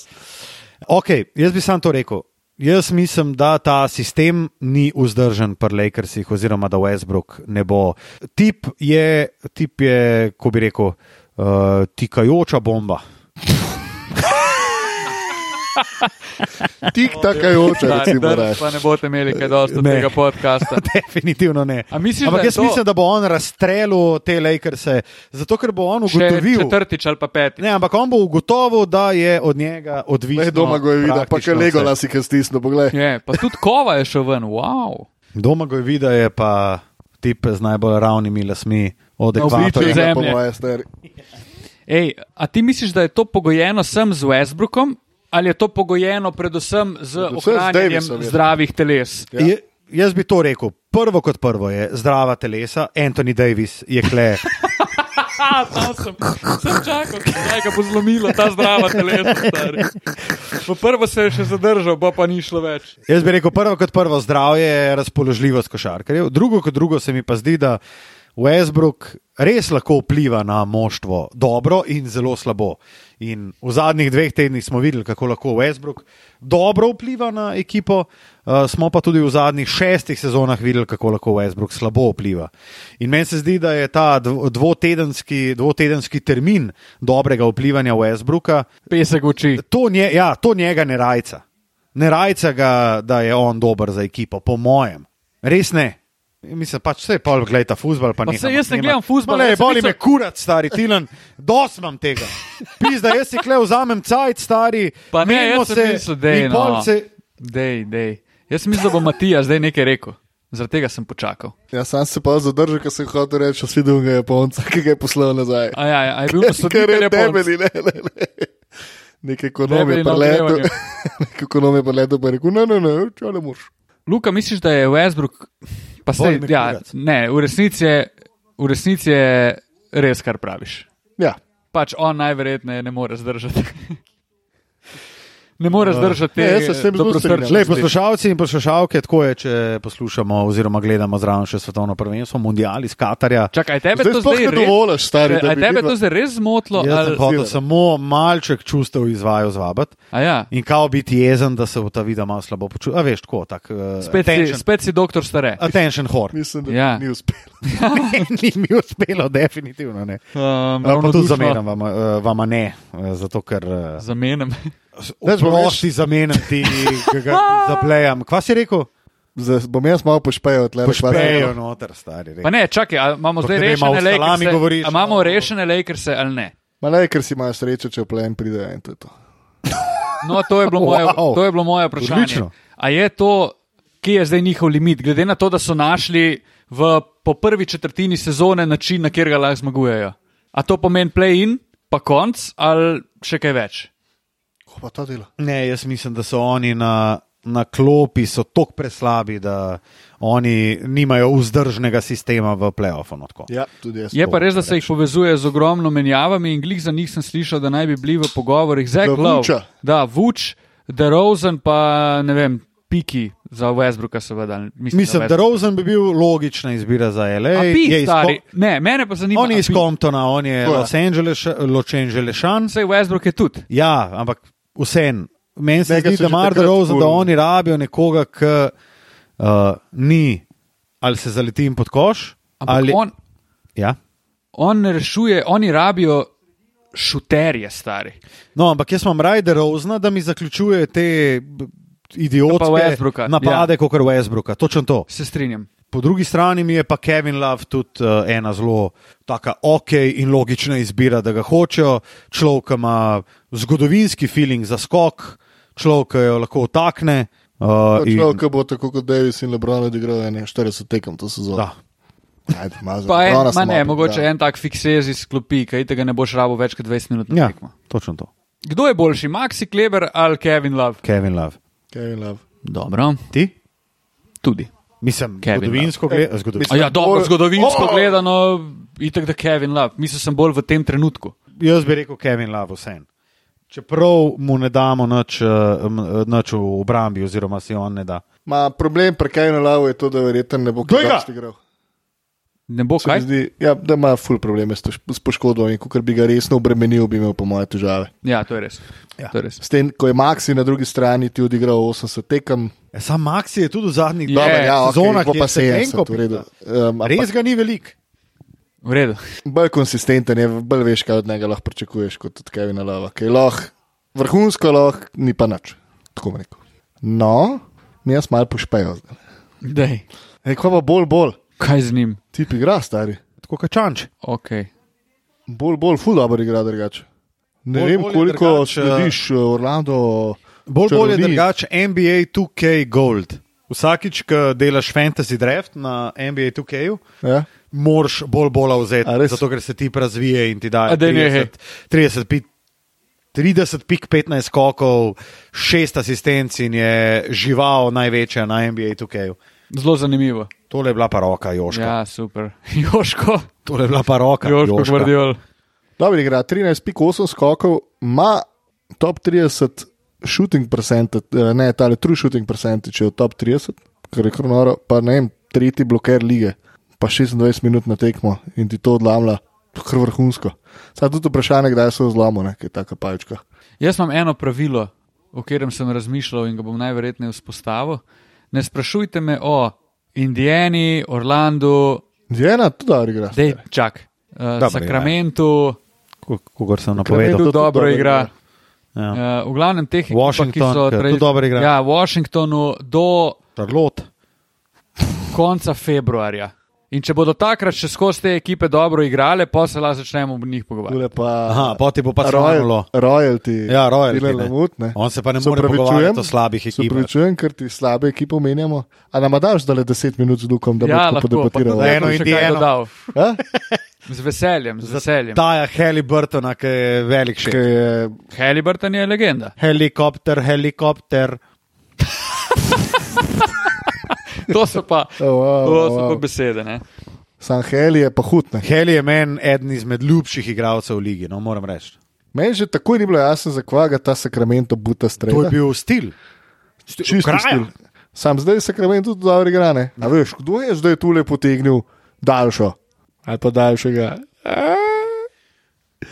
Speaker 1: Ok, jaz bi sam to rekel. Jaz mislim, da ta sistem ni vzdržen pri Lakersih, oziroma da Westbrook ne bo. Tip je, tip je ko bi rekel, uh, tikajoča bomba.
Speaker 3: Tik takajoče,
Speaker 2: Da,
Speaker 3: recimo.
Speaker 2: da,
Speaker 3: raje.
Speaker 2: pa ne boste imeli kaj dosti od
Speaker 1: Ne.
Speaker 2: tega
Speaker 1: [laughs]
Speaker 2: podcasta.
Speaker 1: Definitivno ne.
Speaker 2: A misliš, da
Speaker 1: Ampak
Speaker 2: je
Speaker 1: jaz
Speaker 2: to-
Speaker 1: mislim, da bo on razstrelil te Lakerse, zato ker bo on
Speaker 2: Še
Speaker 1: ugotovil.
Speaker 2: četrtič ali pa petič.
Speaker 1: Ne, ampak on bo ugotovil, da je od njega odvisno.
Speaker 3: Ne, doma ga je videl, pa še
Speaker 1: praktično
Speaker 3: lego
Speaker 1: vse.
Speaker 3: nas je stisnil, poglej.
Speaker 2: Je, pa tudi kova je šel ven, wow.
Speaker 1: Doma ga je videl, je pa tip z najbolj ravnimi lasmi od
Speaker 2: Na obličju
Speaker 1: ekvatorja.
Speaker 2: za-
Speaker 3: Ja, po
Speaker 2: Zemlje.
Speaker 3: moje, stari.
Speaker 2: Ej, a ti misliš, da je to pogojeno sem z Westbrookom ali je to pogojeno predvsem z
Speaker 3: z
Speaker 2: ohranjanjem
Speaker 3: Davisom je.
Speaker 2: zdravih teles?
Speaker 3: Ja.
Speaker 1: Je- Jaz bi to rekel. Prvo kot prvo je zdrava telesa, Anthony Davis je kle.
Speaker 2: Ha, tam Ja, sem, sem čakal, da je ga bo zlomilo ta zdrava telesa. stari. Po prvo se je še zadržal, pa pa ni šlo več.
Speaker 1: Jaz bi rekel, prvo kot prvo zdravje je razpoložljivost košarkarjev, drugo kot drugo se mi pa zdi, da Westbrook res lahko vpliva na moštvo dobro in zelo slabo. In v zadnjih dveh tednih smo videli, kako lahko Westbrook dobro vpliva na ekipo, uh, smo pa tudi v zadnjih šestih sezonah videli, kako lahko Westbrook slabo vpliva. In meni se zdi, da je ta dv- dvotedenski, dvotedenski termin dobrega vplivanja Westbrooka
Speaker 2: Pesek oči.
Speaker 1: To, nje, ja, to njega ne rajca. Ne rajca ga, da je on dober za ekipo, po mojem. Res ne. Mislim, pač vse je pol, gledaj ta fusbal. Pa
Speaker 2: Pa
Speaker 1: nehamo
Speaker 2: saj jaz ne
Speaker 1: snemati.
Speaker 2: gledam fuzbala,
Speaker 1: Ma Ne,
Speaker 2: jaz sem
Speaker 1: boli
Speaker 2: mislil-
Speaker 1: me kurat, stari Tilan, dosmam tega. Pizda, jaz si kle vzamem cajt, stari.
Speaker 2: Pa ne,
Speaker 1: menimo
Speaker 2: jaz sem mislil, da je
Speaker 1: in pol
Speaker 2: no.
Speaker 1: se-
Speaker 2: Dej, dej. Jaz mislim, da bo Matija zdaj nekaj rekel. Zaradi tega sem počakal.
Speaker 3: Ja, sam se pa zadržal, ker sem hotel reči, jaz videl ga Japonca, ki ga je poslal nazaj.
Speaker 2: A ja, ja, a je
Speaker 3: [laughs]
Speaker 2: bil
Speaker 3: Ker
Speaker 2: sodnik ali
Speaker 3: je
Speaker 2: je bil
Speaker 3: debeli, ne, ne, ne. Nek ekonom je
Speaker 2: Debeli na
Speaker 3: preletel,
Speaker 2: ogrevanje.
Speaker 3: [laughs] nek ekonom je preletel, pa je rekel, ne, ne, ne, če ne moreš.
Speaker 2: Luka, misliš, da je Westbrook, pa se
Speaker 1: Bolj me
Speaker 2: ja,
Speaker 1: kurat.
Speaker 2: ne, v resnici je, v resnici je res, kar praviš.
Speaker 3: Ja,
Speaker 2: Pač on najverjetneje ne more zdržati. [laughs] ne more zdržati
Speaker 3: Ja. ne,
Speaker 2: te
Speaker 3: jaz se s tem zelo
Speaker 2: dobrostrčnosti.
Speaker 3: strinjam.
Speaker 1: Lej, poslušalci in poslušalke, tako je, če poslušamo oziroma gledamo zraven še svetovno prvenstvo, mundial iz Katarja.
Speaker 2: Čakaj, a tebe
Speaker 3: Zdaj
Speaker 2: to
Speaker 3: sploh
Speaker 2: zdaj
Speaker 3: ne
Speaker 2: res-
Speaker 3: dovoliš, stari, da
Speaker 2: A
Speaker 3: bi
Speaker 2: tebe
Speaker 3: vidva-
Speaker 2: to zdaj res zmotilo?
Speaker 1: Jaz sem
Speaker 2: Ali...
Speaker 1: hotel samo malček čustev izvajal zvabati.
Speaker 2: A Ja.
Speaker 1: In kao biti jezen, da se v ta vida malo slabo počuti. A veš, tako, tak, uh,
Speaker 2: Spet, si,
Speaker 1: attention,
Speaker 2: spet si doktor stare.
Speaker 1: attention whore.
Speaker 3: mislim, da
Speaker 2: Ja.
Speaker 3: ja. ni uspelo.
Speaker 1: [laughs] Ni mi uspelo, definitivno ne.
Speaker 3: Ja,
Speaker 2: Um,
Speaker 1: Pa tudi zameram vama, eh, vama ne, eh, zato ker eh,
Speaker 2: Zamenjam.
Speaker 3: Več bo več.
Speaker 1: oprosti zamenjam ti, ki ga zaplejam. Kva si rekel?
Speaker 3: Zdaj bom jaz malo pošpejal, tle
Speaker 1: Pošpejo noter, stari.
Speaker 2: Pa
Speaker 1: rekel.
Speaker 2: ne, čakaj, a imamo
Speaker 1: Pa
Speaker 2: zdaj
Speaker 1: ker vem, a
Speaker 2: rešene
Speaker 1: o salami
Speaker 2: Lakerse?
Speaker 1: govoriš,
Speaker 2: A imamo
Speaker 1: no.
Speaker 2: rešene Lakerse ali ne?
Speaker 3: Malaj, ker si imaš srečo, če plen pride en, to je to.
Speaker 2: No, to je bilo moje,
Speaker 1: Wow.
Speaker 2: to je bilo moje vprašanje.
Speaker 1: Odlično.
Speaker 2: A je to, kje je zdaj njihov limit, glede na to, da so našli v po prvi četrtini sezone način, na kjer ga lahko zmagujejo? A to pomeni play-in, pa konc ali še kaj več?
Speaker 3: Ko pa to dela?
Speaker 1: Ne, jaz mislim, da so oni na, na klopi so tako preslabi, da oni nimajo vzdržnega sistema v playoffu. no, tako.
Speaker 3: Ja, tudi jaz.
Speaker 2: Je pa res, da se jih povezuje z ogromno menjavami in glih za njih sem slišal, da naj bi bili v pogovorih z
Speaker 3: Da
Speaker 2: Eklom.
Speaker 3: Vuča.
Speaker 2: Da, Vuč, DeRozan pa ne vem, Piki za Westbrooka seveda. Mislim,
Speaker 1: Mislim, da Rosen bi bil logična izbira za LA. je
Speaker 2: Piki,
Speaker 1: iz
Speaker 2: stari.
Speaker 1: Ko-
Speaker 2: Ne, mene pa zanima.
Speaker 1: On je
Speaker 2: a
Speaker 1: iz
Speaker 2: Pik?
Speaker 1: Comptona, on je
Speaker 3: Tako je.
Speaker 1: Los Angeles, Los Angelešan.
Speaker 2: Saj Westbrook je tudi.
Speaker 1: Ja, ampak vsem. Meni se
Speaker 3: Njega
Speaker 1: zdi,
Speaker 3: so
Speaker 1: da
Speaker 3: že
Speaker 1: Marda
Speaker 3: takrat
Speaker 1: Rosen, da
Speaker 3: ful-
Speaker 1: oni rabijo nekoga, ki uh, ni ali se zaletim pod koš.
Speaker 2: Ampak
Speaker 1: ali,
Speaker 2: Ali... on,
Speaker 1: ja.
Speaker 2: on ne rešuje, oni rabijo šuterje, stari.
Speaker 1: No, ampak jaz imam raje Rozna, da mi zaključuje te b- idiotske
Speaker 2: Pa Westbrooka,
Speaker 1: napade, ja. kot je Westbrook. Točno to.
Speaker 2: Se strinjam.
Speaker 1: Po drugi strani mi je pa Kevin Love tudi uh, ena zelo taka ok in logična izbira, da ga hočejo. Človek ki ima zgodovinski feeling za skok, človek ki jo lahko otakne. Uh, in-
Speaker 3: Človek Pač bo tako kot Davis in Lebron odigral ene 40 tekem to sezono.
Speaker 1: Da.
Speaker 3: Ajde, malo za
Speaker 2: Pa en,
Speaker 3: Lebrona
Speaker 2: ma
Speaker 3: sem
Speaker 2: ne,
Speaker 3: malo
Speaker 2: mogoče
Speaker 3: pridal.
Speaker 2: en tak fiksez iz klopi, kaj tega ne boš rabo več kot 20 minut. na
Speaker 1: Ja,
Speaker 2: tekmo.
Speaker 1: točno to.
Speaker 2: Kdo je boljši, Maxi Kleber ali Kevin Love?
Speaker 1: Kevin Love.
Speaker 3: Kevin Love.
Speaker 2: Dobro,
Speaker 1: Ti?
Speaker 2: tudi.
Speaker 1: Mislim,
Speaker 2: Kevin
Speaker 1: zgodovinsko
Speaker 3: Eh,
Speaker 1: gledano.
Speaker 2: A
Speaker 1: Zgodovinsko.
Speaker 2: ja, dobro,
Speaker 3: bolj-
Speaker 2: zgodovinsko
Speaker 3: Oh!
Speaker 2: gledano, itek da Kevin Love. Mislim, sem bolj v tem trenutku.
Speaker 1: Jaz bi rekel Kevin Love vsem. Čeprav mu ne damo nič, eh, m, nič v obrambi, oziroma si on ne da.
Speaker 3: Ma, problem pri Kajnu Lavu je to, da verjetno ne bo
Speaker 1: Glej ga!
Speaker 3: kaj igral.
Speaker 2: Ne bo
Speaker 3: Se mi
Speaker 2: kaj.
Speaker 3: Zdi, ja, da ima ful probleme s, tož- s poškodbo in ko bi ga resno obremenil, bi imel po moje težave.
Speaker 2: Ja, to je res. To je res.
Speaker 3: S tem, ko je Maxi na drugi strani ti odigral 80 tekem,
Speaker 1: E, Sam Maxi je tudi v zadnjih
Speaker 2: Je,
Speaker 3: Dobar,
Speaker 1: dveh
Speaker 3: ja, okay,
Speaker 1: sezonah,
Speaker 3: bo
Speaker 1: je
Speaker 3: pa
Speaker 1: se enko
Speaker 3: 70, v redu. Um, ampak
Speaker 1: Res ga ni velik.
Speaker 2: V redu.
Speaker 3: bolj konsistenten je, bolj veš, kaj od njega lahko pričakuješ kot od Kevina Lava. Kaj lahko Vrhunsko lahko ni pa nič. Tako bom rekel. No, mi jaz malo pošpejo zdaj.
Speaker 2: Dej.
Speaker 3: Ej, ko pa bolj, bolj,
Speaker 2: Kaj z njim?
Speaker 3: ti igra, stari.
Speaker 1: Tako kot čanč.
Speaker 2: Okay.
Speaker 3: Bolj, bolj, ful dobro igra drugače. Ne
Speaker 1: Bolj
Speaker 3: bolj, vem,
Speaker 1: bolj je
Speaker 3: koliko
Speaker 1: drugače,
Speaker 3: slediš eh, Orlando.
Speaker 1: Bolj, bolj je
Speaker 3: čarovniji.
Speaker 1: drugače NBA 2K Gold. Vsakič, ko delaš fantasy draft na NBA 2K,
Speaker 3: Ja?
Speaker 1: moraš bolj bola vzeti,
Speaker 3: A res?
Speaker 1: zato ker se ti razvije in ti da
Speaker 2: A daj nehaj.
Speaker 1: 30, 30, pik- 30, pik 15 skokov, 6 asistenc in je žival največja na NBA 2K.
Speaker 2: Zelo zanimivo.
Speaker 1: Tole je bila pa roka, Joška. Ja.
Speaker 2: Ja, super. [laughs] Joško,
Speaker 1: Tole je bila pa roka,
Speaker 2: Joško,
Speaker 1: Joška.
Speaker 2: Gvardiol.
Speaker 3: Dobro igra, 13,8 skokov, ima top 30 shooting percentage, eh, ne, tale true shooting percentage je v top 30, kar je kronoro, pa ne vem, tretji bloker lige, pa 26 minut na tekmo in ti to odlamlja, kar vrhunsko. Sad tudi vprašanje, kdaj se zlomo, ne, kaj je taka pajčka.
Speaker 2: Jaz imam eno pravilo, o katerem sem razmišljal in ga bom najverjetneje vzpostavil. Ne sprašujte me o Indijani, Orlandu,
Speaker 3: Diana, tudi dobro igra.
Speaker 2: dej, čak, uh, Sakramentu,
Speaker 1: Kogor sem napovedal.
Speaker 2: Kredu
Speaker 3: tudi
Speaker 2: dobro
Speaker 3: dobro
Speaker 2: igra.
Speaker 1: Ja.
Speaker 2: Uh, v glavnem teh ekipah, ki
Speaker 1: Washington,
Speaker 2: so
Speaker 1: ke tudi dobro igra.
Speaker 2: Ja, Washingtonu do
Speaker 1: Charlotte.
Speaker 2: konca februarja. In če bodo takrat še skozi te ekipe dobro igrale, pa se lahko začnemo o njih pogovarjati.
Speaker 3: Tule pa,
Speaker 1: Aha, poti bo pa
Speaker 3: Royal,
Speaker 1: Royal.
Speaker 3: royalty.
Speaker 1: Ja, royalty,
Speaker 3: Tile
Speaker 1: ne.
Speaker 3: Lamut, ne.
Speaker 1: On se pa ne
Speaker 3: Se
Speaker 1: more
Speaker 3: opravičujem,
Speaker 1: pogovarjati o slabih
Speaker 3: Se
Speaker 1: ekipah.
Speaker 3: upravičujem, ker ti slabe ekipe omenjamo. A nam daš zdaj 10 minut z Lukom, da
Speaker 2: Ja,
Speaker 3: bomo
Speaker 2: lahko, pa tudi
Speaker 3: podebatiral?
Speaker 1: da
Speaker 2: jaz
Speaker 1: Eno
Speaker 2: bom še kaj
Speaker 1: Indiano.
Speaker 2: dodal.
Speaker 3: Ja?
Speaker 2: Z veseljem, z veseljem.
Speaker 1: Taja Heliburtona, ki je velik še.
Speaker 3: Ker je
Speaker 2: Heliburton je legenda.
Speaker 1: Helikopter, helikopter.
Speaker 2: To so pa,
Speaker 3: [laughs] Oh, wow,
Speaker 2: to
Speaker 3: wow,
Speaker 2: so pa
Speaker 3: wow.
Speaker 2: besede. Ne?
Speaker 3: San Heli je pa hud. ne.
Speaker 1: Heli je meni eden izmed ljubših igralcev v ligi, no moram reči.
Speaker 3: Meni že takoj ni bilo jasno, zakaj ga ta sakramento
Speaker 1: To
Speaker 3: buta
Speaker 1: je
Speaker 3: strelja.
Speaker 1: bil stil.
Speaker 3: Čisto
Speaker 1: kraja.
Speaker 3: stil. Sam zdaj sakramento tudi dobro igra. ne. A veš, kdo je zdaj tule potegnil daljšo? Ali pa daljšega.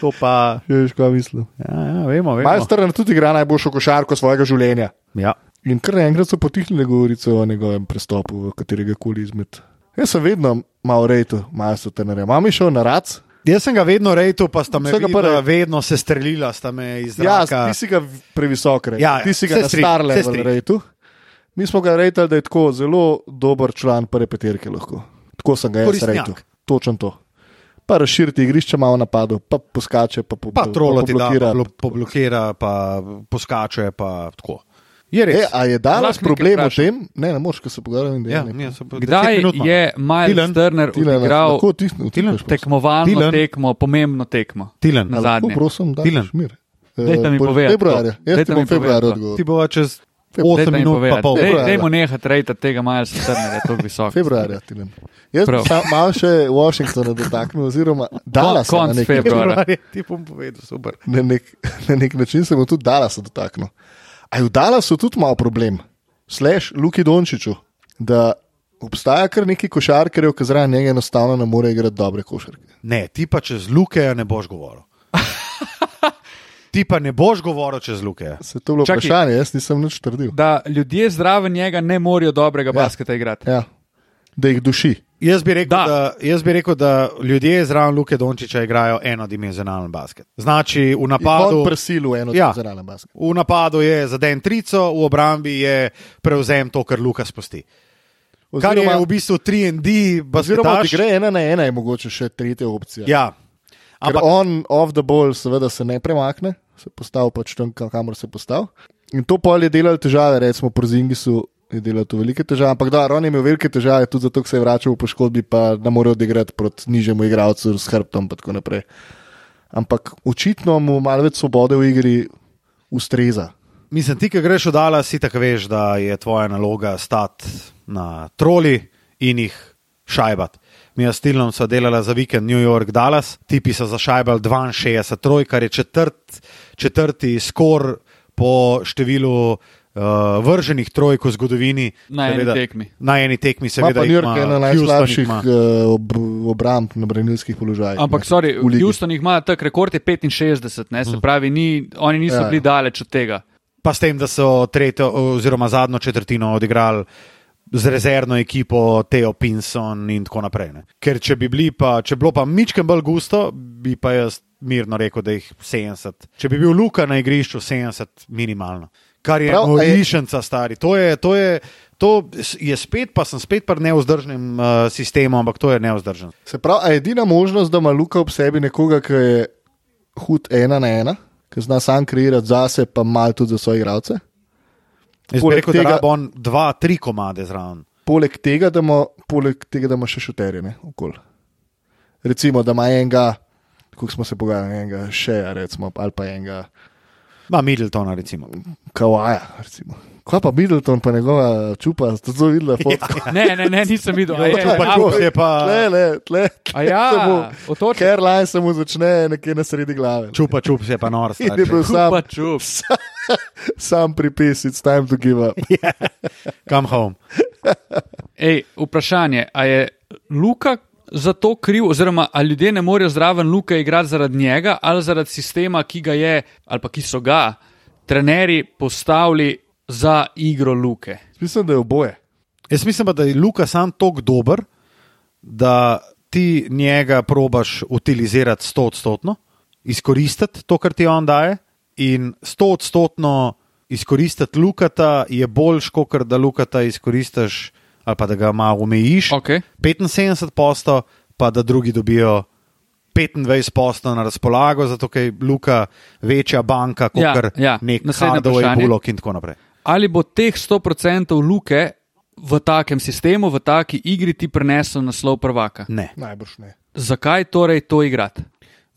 Speaker 1: To pa,
Speaker 3: Že veš, kaj mislim.
Speaker 1: ja, ja vemo, vemo.
Speaker 3: Majster tudi igra najboljšo košarko svojega življenja.
Speaker 1: Ja.
Speaker 3: In kar naenkrat so potihnile govorice o njegovem prestopu v katerega koli izmed. Jaz sem vedno malo rejtu, malo so tenere. Mami šel na rac.
Speaker 1: Jaz sem ga vedno rejtu, pa sta me
Speaker 3: Vsega
Speaker 1: videla,
Speaker 3: prve.
Speaker 1: vedno se strelila, sta me iz
Speaker 3: Ja,
Speaker 1: zraka.
Speaker 3: ti si ga previsok rejtu.
Speaker 1: Ja,
Speaker 3: Ja,
Speaker 1: ja,
Speaker 3: ti si ga
Speaker 1: se
Speaker 3: na
Speaker 1: strinjam,
Speaker 3: star
Speaker 1: se
Speaker 3: level
Speaker 1: strinjam.
Speaker 3: rejtu. Mi smo ga rejtali, da je tako zelo dober član prve peterke lahko. Tako sem ga jaz
Speaker 1: Koristnjak.
Speaker 3: rejtu. Točen to. Pa razširiti igrišče malo napadov, pa poskače, pa po,
Speaker 1: pa trolo ti da,
Speaker 3: poblokira.
Speaker 1: pa blo- poblokira, pa poskače, pa tako. Je res.
Speaker 3: E, a je
Speaker 2: Lahko
Speaker 3: danes
Speaker 2: nekaj
Speaker 3: problem v
Speaker 2: vprašam.
Speaker 3: tem? Ne, ne moreš, ker se pogovarjam.
Speaker 1: ja,
Speaker 3: ne.
Speaker 1: ne, so pa deset
Speaker 2: Kdaj
Speaker 1: minut ima.
Speaker 2: je Miles
Speaker 1: Dylan,
Speaker 2: Turner
Speaker 3: Tile, nas
Speaker 2: odigral
Speaker 3: lahko vtisneš, vtisneš, prosim?
Speaker 2: tekmovalno
Speaker 1: Dylan.
Speaker 2: tekmo, pomembno tekmo?
Speaker 1: Tilen,
Speaker 2: Na
Speaker 3: A lahko,
Speaker 2: zadnje.
Speaker 3: Prosim, da
Speaker 1: Tilen.
Speaker 3: daš mir. Eh,
Speaker 2: Dajte mi
Speaker 3: boš
Speaker 2: povedati
Speaker 3: Februarja,
Speaker 2: to.
Speaker 3: jaz
Speaker 2: Dajte
Speaker 3: ti bom
Speaker 2: mi povedati
Speaker 3: februarja
Speaker 2: to.
Speaker 1: ti
Speaker 3: odgovoril.
Speaker 1: bo čez
Speaker 2: Dajte
Speaker 1: 8
Speaker 2: mi
Speaker 1: minut, pa
Speaker 2: povedati.
Speaker 1: pol.
Speaker 2: Dej-
Speaker 3: Februarja.
Speaker 2: Dajmo nehati rejtati tega Milesa Turnerja, to je visoko.
Speaker 3: Februarja, Tilen. Jaz
Speaker 2: Prav.
Speaker 3: bi se malo še Washingtona dotaknil, oziroma Dallas.
Speaker 2: konc
Speaker 3: na, nek-
Speaker 2: februarja.
Speaker 1: [laughs] ti bom povedal, super.
Speaker 3: [laughs] na, nek, na nek način se bom tudi Dallas dotaknil. A je v Dallasu tudi malo problem, slash Luki Dončiću, da obstaja kar nekaj košarkarjev, ki zraven njega enostavno ne more igrati dobre košarke.
Speaker 1: Ne, ti pa čez Luke ne boš
Speaker 3: [laughs]
Speaker 1: govoril. ti pa ne boš govoril čez Luke.
Speaker 3: Se je to bilo
Speaker 2: Čakaj.
Speaker 3: vprašanje, jaz nisem nič trdil.
Speaker 2: Da ljudje zraven njega ne morejo dobrega basketa igrati.
Speaker 3: Ja, da jih duši.
Speaker 1: Jaz bi, rekel,
Speaker 2: Da.
Speaker 1: da. Da, jaz bi rekel, da ljudje zraven Luke Dončiča igrajo enodimenzionalen basket. Znači, v napadu,
Speaker 3: On presilu eno
Speaker 1: Ja.
Speaker 3: ja. zraven basket.
Speaker 1: v napadu je zaden trico, v obrambi je prevzem to, kar Luka spusti. Kar je v bistvu 3D,
Speaker 3: Oziroma, če
Speaker 1: basketaš.
Speaker 3: gre ena na ena, je mogoče še tretja opcija.
Speaker 1: Ja. Ampak
Speaker 3: Ampak on, off the ball, seveda se ne premakne, se postavi pač tam, kam- kamor se postavi. In to pol je delalo težave, recimo pri Zingisu je delalo to velike težave, ampak da, on je imel velike težave, tudi zato, ker se je vračal v poškodbi, pa ne more odigrati proti nižjemu igralcu s hrbtom in tako naprej. Ampak očitno mu malo več svobode v igri ustreza.
Speaker 1: Mislim, ti, ki greš v Dala, si tako veš, da je tvoja naloga stati na troli in jih šajbati. Mi s Tilnom sva delala za vikend New York, Dallas, tipi so zašajbali 62, troj, kar je četrt, četrti skor po številu uh, vrženih trojk v zgodovini.
Speaker 2: Na eni
Speaker 1: Seveda-
Speaker 2: tekmi.
Speaker 1: Na eni tekmi,
Speaker 3: Ma
Speaker 1: seveda.
Speaker 3: pa
Speaker 1: jih
Speaker 3: New York je
Speaker 1: ima,
Speaker 3: ena
Speaker 1: Houston jih
Speaker 3: najslabših
Speaker 1: ima.
Speaker 3: eh, ob, obramb na branilskih položajih.
Speaker 2: Ampak,
Speaker 3: ne,
Speaker 2: sorry,
Speaker 3: ja. v ligi. Mm.
Speaker 2: Houston jih ima tak rekord je 65, ne, se pravi, ni, oni niso
Speaker 3: Ja.
Speaker 2: bili daleč od tega.
Speaker 1: Pa s tem, da so tretjo, oziroma zadnjo četrtino odigrali z rezervno ekipo, Teo Pinson in tako naprej. Ne. Ker če bi bili pa, če bi bilo pa mičken bolj gusto, bi pa jaz mirno rekel, da jih 70. Če bi bil Luka na igrišču, 70 minimalno. Kar je
Speaker 3: Prav, a je-
Speaker 1: norišnica, stari. To je, to je, to je spet, pa sem spet pri neuzdržnem uh, sistemu, ampak to je neuzdržen.
Speaker 3: Se pravi, a je edina možnost, da ima Luka ob sebi nekoga, ki je hud ena na ena, ki zna sam kreirati zase, pa malo tudi za svoje igralce.
Speaker 1: Jaz bi
Speaker 3: Poleg
Speaker 1: rekel, tega...
Speaker 3: tega-
Speaker 1: da bo on dva, tri komade zraven.
Speaker 3: Poleg tega, da ima, poleg tega, da ima še šuterje, ne okol. Recimo, da ima enega, kako smo se pogajali, enega še, recimo, ali pa enega
Speaker 1: Ma Middletona, recimo.
Speaker 3: kawaja. Recimo. Kaj pa Middleton, pa njegova čupa, ste to
Speaker 1: [laughs]
Speaker 3: videli, fotko.
Speaker 2: Ne, ne, ne, nisem
Speaker 3: [laughs]
Speaker 2: videl. A je,
Speaker 1: Ja, čupa,
Speaker 2: a,
Speaker 1: čupa. se pa-
Speaker 3: Tle, le, tle,
Speaker 2: A
Speaker 3: tle
Speaker 2: ja,
Speaker 3: se mu,
Speaker 2: otoček.
Speaker 3: Caroline se mu začne nekje na sredi glave.
Speaker 1: Čupa, čup se pa nor.
Speaker 3: In [laughs] je bil
Speaker 1: stari.
Speaker 3: sam,
Speaker 2: Čupa, čup.
Speaker 3: sam pripis, it's time to give
Speaker 2: [laughs]
Speaker 3: up.
Speaker 1: Come home.
Speaker 2: Ej, vprašanje, a je Luka za to kriv, oziroma ali ljudje ne morejo zraven Luka igrati zaradi njega ali zaradi sistema, ki ga je, ali pa ki so ga, trenerji postavili za igro Luke.
Speaker 3: Mislim, da je oboje.
Speaker 1: Jaz mislim, pa, da je Luka sam tako dober, da ti njega probaš utilizirati stotodstotno, izkoristiti to, kar ti on daje. In stotodstotno izkoristiti Lukata je boljš, kot da Lukata izkoristiš ali pa da ga malo omejiš.
Speaker 2: Okay.
Speaker 1: 75 posto, pa da drugi dobijo 25 posto na razpolago, zato ker je Luka večja banka kot
Speaker 2: Ja,
Speaker 1: ja,
Speaker 2: ja.
Speaker 1: ja. nek
Speaker 2: Naslednje
Speaker 1: Hardaway,
Speaker 2: vprašanje.
Speaker 1: Bullock in tako naprej.
Speaker 2: Ali bo teh 100% Luke v takem sistemu, v taki igri ti prinesel naslov prvaka?
Speaker 1: Ne.
Speaker 3: Najbrž ne.
Speaker 2: Zakaj torej to igrati?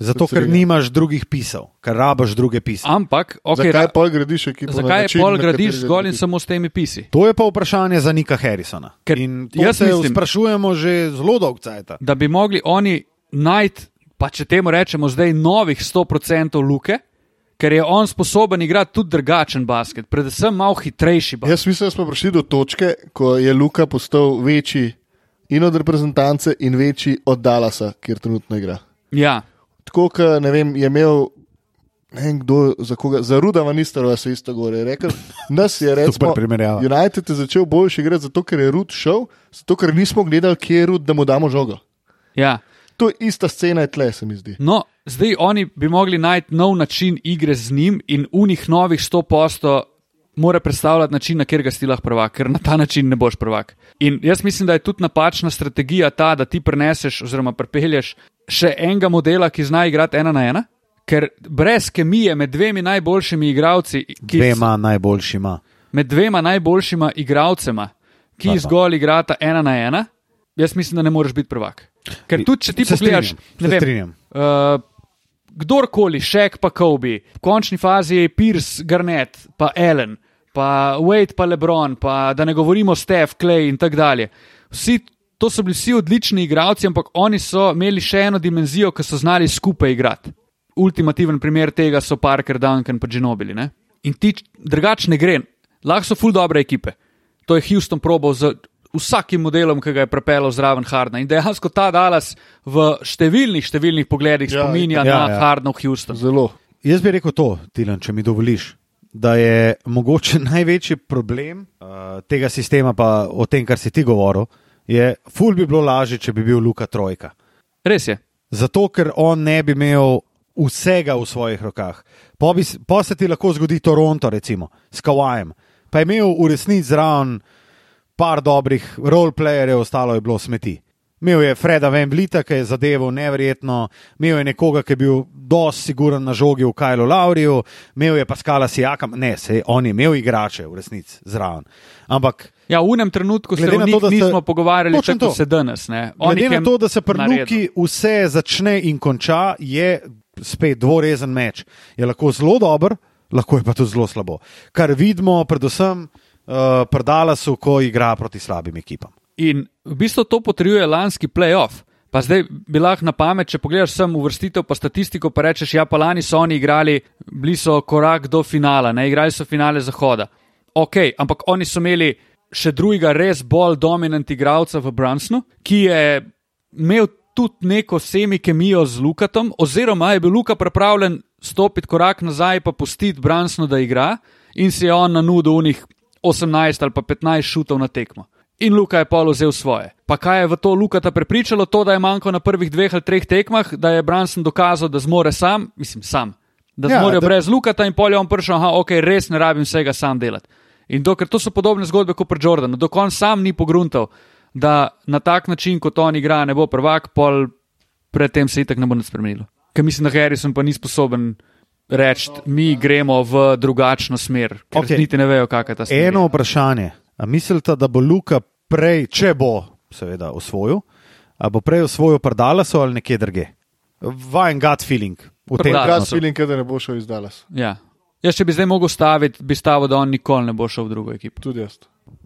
Speaker 1: Zato, ker
Speaker 3: Seveda.
Speaker 1: nimaš drugih pisal, ker rabaš druge pisal.
Speaker 2: Ampak, okay,
Speaker 3: Okay, zakaj
Speaker 2: ra-
Speaker 3: pol gradiš ekipo? na
Speaker 2: zakaj
Speaker 3: način,
Speaker 2: pol
Speaker 3: na
Speaker 2: gradiš
Speaker 3: katerega
Speaker 2: zgolj in
Speaker 3: gradiš?
Speaker 2: samo s temi pisi?
Speaker 1: To je pa vprašanje za Nika Harrisona.
Speaker 2: Ker
Speaker 1: in to
Speaker 2: jaz
Speaker 1: se
Speaker 2: mislim-
Speaker 1: sprašujemo že zelo dolgo časa.
Speaker 2: da bi mogli oni najti, pa če temu rečemo zdaj, novih 100% luke, ker je on sposoben igrati tudi drugačen basket, predvsem malo hitrejši basket.
Speaker 3: Jaz mislim, da smo prišli do točke, ko je Luka postal večji in od reprezentance, in večji od Dalasa, kjer trenutno igra.
Speaker 2: Ja,
Speaker 3: Tako, kot ne vem, je imel. Ne vem, kdo za koga, za Rudava niste, da se isto govori. Rekel,
Speaker 2: [laughs]
Speaker 3: nas je recimo,
Speaker 1: Super primerjava.
Speaker 3: United je začel boljši igrati, zato ker je Rud šel, zato ker nismo gledali, kje je Rud, da mu damo žogo.
Speaker 2: ja.
Speaker 3: To je ista scena, je tle, se mi zdi.
Speaker 2: No, zdaj oni bi mogli najti nov način igre z njim in unih novih 100% mora predstavljati način, na katerega si ti lahko prvak, ker na ta način ne boš prvak. In jaz mislim, da je tudi napačna strategija ta, da ti preneseš oziroma pripelješ še enega modela, ki zna igrati ena na ena. Ker brez kemije med dvemi najboljšimi igralci, ki
Speaker 1: Dvema najboljšima.
Speaker 2: med dvema najboljšima igralcema, ki
Speaker 1: Pa, pa.
Speaker 2: zgolj igrata ena na ena, jaz mislim, da ne moreš biti prvak. Ker tudi, če ti
Speaker 1: Se
Speaker 2: pogledaš,
Speaker 1: strinjam,
Speaker 2: ne
Speaker 1: se
Speaker 2: vem.
Speaker 1: strinjam.
Speaker 2: Uh, Kdorkoli, Šek pa Kobe, v končni fazi je Pierce, Garnet, pa Allen, pa Wade, pa Lebron, pa da ne govorimo Steph, Clay in tako dalje. Vsi, to so bili vsi odlični igralci, ampak oni so imeli še eno dimenzijo, ki so znali skupaj igrati. Ultimativen primer tega so Parker, Duncan in Ginobili. Ne? In ti drugačne gre, lahko so ful dobre ekipe. To je Houston probal z vsakim modelom, ki ga je prepeljal zraven Hardna. In dejansko ta Dallas v številnih, številnih pogledih
Speaker 3: Ja,
Speaker 2: spominja
Speaker 1: ja,
Speaker 2: na
Speaker 1: ja.
Speaker 2: Hardna v Houstonu.
Speaker 3: Zelo.
Speaker 1: Jaz bi rekel to, Tilan, če mi dovoliš, da je mogoče [laughs] največji problem uh, tega sistema, pa o tem, kar si ti govoril, je, ful bi bilo lažje, če bi bil Luka Trojka.
Speaker 2: Res je.
Speaker 1: Zato, ker on ne bi imel vsega v svojih rokah. Po, bi, s- po se ti lahko zgodi Toronto, recimo, s Kawajem. Pa je imel v resnici zraven par dobrih roleplayerjev, ostalo je bilo smeti. Imel je Freda Vemblita, ki je zadeval neverjetno, imel je nekoga, ki je bil dosti siguren na žogi v Kajlu Lauriju, imel je Paskala Sijaka, ne, se, on je imel igrače v resnici zraven. Ampak
Speaker 2: Ja, v enem trenutku se
Speaker 1: Glede
Speaker 2: o
Speaker 1: na to,
Speaker 2: njih to,
Speaker 1: da ste-
Speaker 2: nismo pogovarjali,
Speaker 1: Točno
Speaker 2: tako
Speaker 1: to.
Speaker 2: kot se danes. ne. On jih
Speaker 1: Glede
Speaker 2: je
Speaker 1: na to, da se pri
Speaker 2: naredil.
Speaker 1: Luki vse začne in konča, je spet dvorezen meč. Je lahko zelo dober, lahko je pa tudi zelo slabo. Kar vidimo, predvsem uh, pri Dallasu, ko igra proti slabim ekipam.
Speaker 2: In v bistvu to potrjuje lanski playoff. Pa zdaj bi lahko na pamet, če pogledaš sem uvrstitev, pa statistiko, pa rečeš, ja, pa lani so oni igrali, bili so korak do finala, ne igrali so finale Zahoda. Ok, ampak oni so imeli še drugega res bolj dominant igralca v Brunsonu, ki je imel tudi neko semi kemijo z Lukatom, oziroma je bil Luka pripravljen stopiti korak nazaj, pa pustiti Brunsonu, da igra, in si je on na nudu unih 18 ali pa 15 šutov na tekmo. in Luka je pol vzel svoje. Pa kaj je v to Lukata prepričalo, to, da je manjko na prvih dveh ali treh tekmah, da je Branson dokazal, da zmore sam, mislim, sam, da
Speaker 1: Ja,
Speaker 2: ja, zmore
Speaker 1: da-
Speaker 2: da... brez Lukata in pol je on prišel, aha, ok, res ne rabim vsega sam delati. In dokler to so podobne zgodbe kot pri Jordanu, dokler on sam ni pogruntal, da na tak način, kot on igra, ne bo prvak, pol predtem se itak ne bo nič spremenilo. Ker mislim, da Harrison pa ni sposoben reči, mi gremo v drugačno smer, ker
Speaker 1: Okej.
Speaker 2: okay. niti ne vejo, kakšna je ta smer.
Speaker 1: Eno vprašanje. A mislite, da bo Luka prej, če bo, seveda, osvojil, a bo prej osvojil predala so ali nekje drugje? Vajen gut feeling. v tem
Speaker 2: Pardalaso.
Speaker 1: trenutku.
Speaker 3: Jaz vidim, da ne bo šel iz Dallas.
Speaker 2: Ja. Jaz, če bi zdaj mogel staviti, bi stavil, da on nikoli ne bo šel v drugo ekipo.
Speaker 3: Tudi jaz.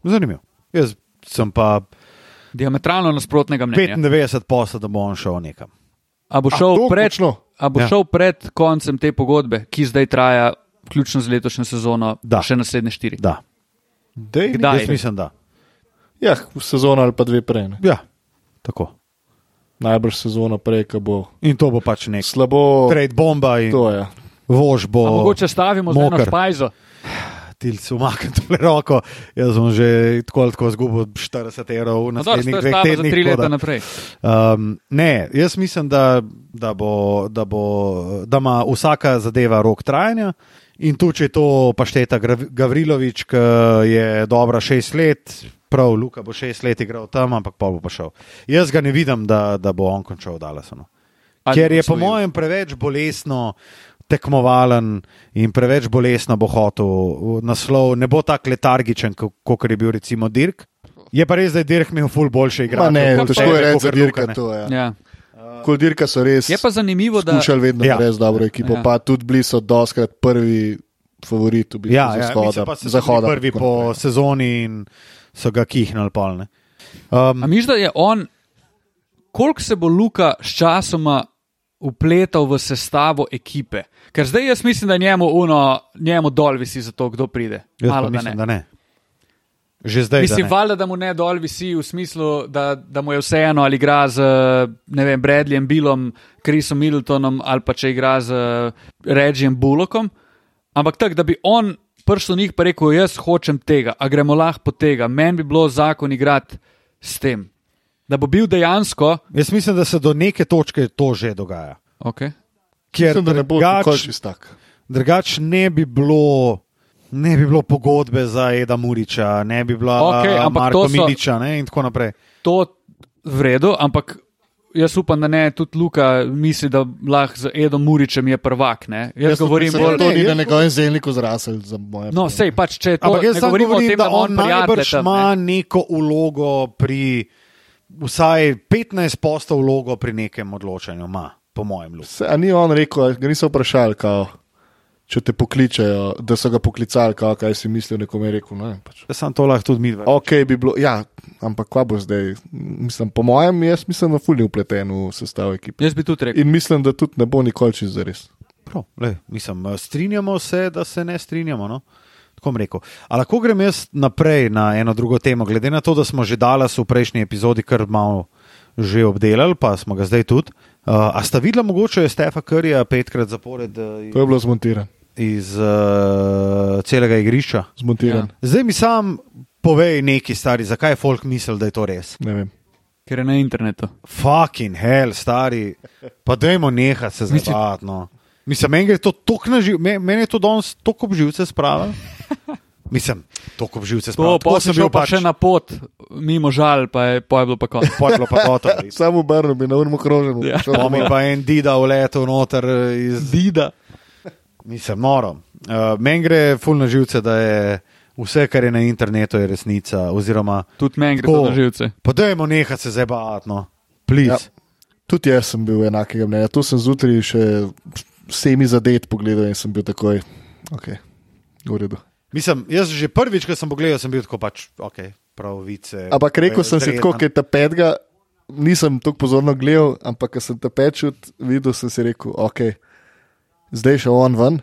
Speaker 1: Zanimivo. Jaz sem pa
Speaker 2: Diametralno nasprotnega mnenja.
Speaker 1: 95 posla, da bo on šel nekam.
Speaker 2: A bo,
Speaker 3: A,
Speaker 2: šel
Speaker 3: to
Speaker 2: pred,
Speaker 3: močno?
Speaker 2: a bo
Speaker 1: Ah, Ja.
Speaker 2: ja. šel pred koncem te pogodbe, ki zdaj traja, vključno z letošnjo sezono,
Speaker 1: Da.
Speaker 2: še naslednje štiri.
Speaker 1: Da.
Speaker 3: Dej,
Speaker 2: Kdaj?
Speaker 1: Jaz mislim, da.
Speaker 3: Ja, sezona ali pa dve prej. Ne.
Speaker 1: Ja, tako.
Speaker 3: Najbrž sezona prej, ko bo
Speaker 1: In to bo pač nek
Speaker 3: slabo.
Speaker 1: trade bomba in
Speaker 3: To je.
Speaker 1: vož
Speaker 2: A
Speaker 1: bo.
Speaker 2: mogoče stavimo z eno
Speaker 1: Moker.
Speaker 2: špajzo.
Speaker 1: Tilci umaknem tole roko, jaz sem že tako ali tako izgubil 40 evrov na
Speaker 2: No, dobro,
Speaker 1: naslednjih
Speaker 2: to je
Speaker 1: dveh
Speaker 2: stava za
Speaker 1: tednih.
Speaker 2: tri
Speaker 1: tako
Speaker 2: leta
Speaker 1: da-
Speaker 2: naprej.
Speaker 1: Um, ne, jaz mislim, da, da, bo, da, bo, da ima vsaka zadeva rok trajanja. In tu, če je to pašteta Grav- Gavrilovič, ki je dobra šest let, prav Luka bo šest let igral tam, ampak pa bo pa šel. Jaz ga ne vidim, da, da bo on končal v Dallasu. no.
Speaker 2: Ali
Speaker 1: Ker je,
Speaker 2: bo
Speaker 1: po
Speaker 2: osvojil.
Speaker 1: mojem, preveč bolesno tekmovalen in preveč bolesno bo hotel v naslov. Ne bo tako letargičen, kot je bil recimo Dirk. Je pa res, da je Dirk imel ful boljše
Speaker 3: Ma
Speaker 1: igre.
Speaker 3: Ne,
Speaker 2: Kakor
Speaker 3: težko
Speaker 2: tebe,
Speaker 3: je reči za
Speaker 1: kakor Luka,
Speaker 3: dirka.
Speaker 1: ne.
Speaker 3: To, ja.
Speaker 2: Ja.
Speaker 3: Kol dirka so res.
Speaker 2: Je pa zanimivo, da
Speaker 3: Skušali vedno
Speaker 1: Ja.
Speaker 3: ja. brez dobro ekipo,
Speaker 2: Ja.
Speaker 3: ja. pa tudi bili so doskrat prvi favorit v bistvu
Speaker 1: Ja, ja
Speaker 3: zahoda.
Speaker 1: mislim pa, so
Speaker 3: zahoda
Speaker 1: bili prvi
Speaker 3: tako
Speaker 1: po
Speaker 3: naprej.
Speaker 1: sezoni in so ga kihnili polne. Um,
Speaker 2: A miš, da je on, koliko se bo Luka sčasoma upletal v sestavo ekipe? Ker zdaj jaz mislim, da njemu, uno, njemu dol visi za to, kdo pride.
Speaker 1: jaz
Speaker 2: Malo
Speaker 1: pa
Speaker 2: da
Speaker 1: mislim,
Speaker 2: ne.
Speaker 1: da ne. Že zdaj.
Speaker 2: Mislim,
Speaker 1: da ne.
Speaker 2: valjda, da mu ne dol visi v smislu, da, da mu je vseeno ali igra z ne vem, Bradleyjem, Billom, Chrisom Middletonom ali pa če igra z Regijem Bullockom. Ampak tako, da bi on prišel do njih in rekel: Jaz hočem tega, a gremo lahko po tega. Meni bi bilo zakon igrati s tem. Da bo bil dejansko.
Speaker 1: Jaz mislim, da se do neke točke to že dogaja.
Speaker 2: Okay.
Speaker 1: Ker
Speaker 3: Mislim, da ne bo nikoli
Speaker 1: drugače
Speaker 3: čistak.
Speaker 1: drugač ne bi bilo. Ne bi bilo pogodbe za Eda Muriča, ne bi bila
Speaker 2: Okej,
Speaker 1: okay,
Speaker 2: ampak
Speaker 1: Marko
Speaker 2: to
Speaker 1: so...
Speaker 2: so-
Speaker 1: Miliča ne, in tako naprej.
Speaker 2: to v redu, ampak jaz upam, da ne, tudi Luka misli, da lahko z Edom Muričem je prvak. Ne? Jaz, jaz govorim
Speaker 3: mislim, da
Speaker 2: bolj.
Speaker 1: ne,
Speaker 3: to ni
Speaker 1: jaz-
Speaker 3: na njegovem zelniku zrasel za moje.
Speaker 2: No, sej pač, če je to
Speaker 1: Ampak jaz
Speaker 2: ne
Speaker 1: samo
Speaker 2: govorimo
Speaker 1: govorim,
Speaker 2: o tem, da,
Speaker 1: da on
Speaker 2: prijatelj
Speaker 1: najbrž
Speaker 2: tam, ne.
Speaker 1: ima neko ulogo pri, vsaj 15 postov vlogo pri nekem odločanju, ima, po mojem. Luka.
Speaker 3: Se, a ni on rekel, a ga niso vprašali, kao, če te pokličejo, da so ga poklicali, kao, kaj si mislil, nekom je rekel. Ne, vem, pač.
Speaker 1: Jaz sem to lahko tudi mi dva.
Speaker 3: Ok, bi bilo, ja, ampak kva bo zdaj? Mislim, po mojem, jaz mislim, da fulni upleten v sestavo ekipe.
Speaker 2: Jaz bi tudi rekel.
Speaker 3: In mislim, da tudi ne bo nikoli čez zares.
Speaker 1: Prav, le, mislim, eh, strinjamo se, da se ne strinjamo. No? Tako bom rekel. A lahko grem jaz naprej na eno drugo temo, glede na to, da smo že Dalas v prejšnji epizodi kar malo že obdelali, pa smo ga zdaj tudi. Uh, a sta videla mogoče Stefa Curryja petkrat zapored eh,
Speaker 3: To je bilo zmontiran.
Speaker 1: iz uh, celega igrišča?
Speaker 3: Zmontiran. Ja.
Speaker 1: Zdaj mi sam povej neki stari, zakaj je folk mislil, da je to res.
Speaker 3: Ne vem.
Speaker 2: Ker je na internetu.
Speaker 1: Fucking hell, stari, pa dajmo nehati se
Speaker 2: Mislim-
Speaker 1: zabavati. No. Mislim, meni gre to tako na živ, me- meni je to danes tako obživce spravil. Mislim, tako pač obživce
Speaker 2: To
Speaker 1: spravil.
Speaker 2: pa sem pač- šel pa še na pot, mimo žal, pa je, pa je bilo pa konec.
Speaker 1: Pojlo pa
Speaker 2: [laughs]
Speaker 1: gotovo.
Speaker 3: Samo obrnil bi na urmo krožen.
Speaker 2: Ja.
Speaker 1: To mi pa en dida uletel noter eh, iz dida. Nisem noro. Uh, meni gre fulno živce, da je vse, kar je na internetu, je resnica. Oziroma,
Speaker 2: Tudi meni gre to
Speaker 1: Tako.
Speaker 2: na živce.
Speaker 1: pa dajmo nehati se zabavati, no. Please.
Speaker 3: Ja. Tudi jaz sem bil enakega mnenja. To sem zjutraj še vsemi zadet pogledal in sem bil takoj. Okay. V redu.
Speaker 1: Mislim, jaz že prvič, ko sem pogledal, sem bil tako pač, ok, pravice. eh,
Speaker 3: Ampak rekel sem si tako, ker ta petega nisem tako pozorno gledal, ampak ko sem ta pečut videl, sem si rekel, ok, zdaj je šel on ven,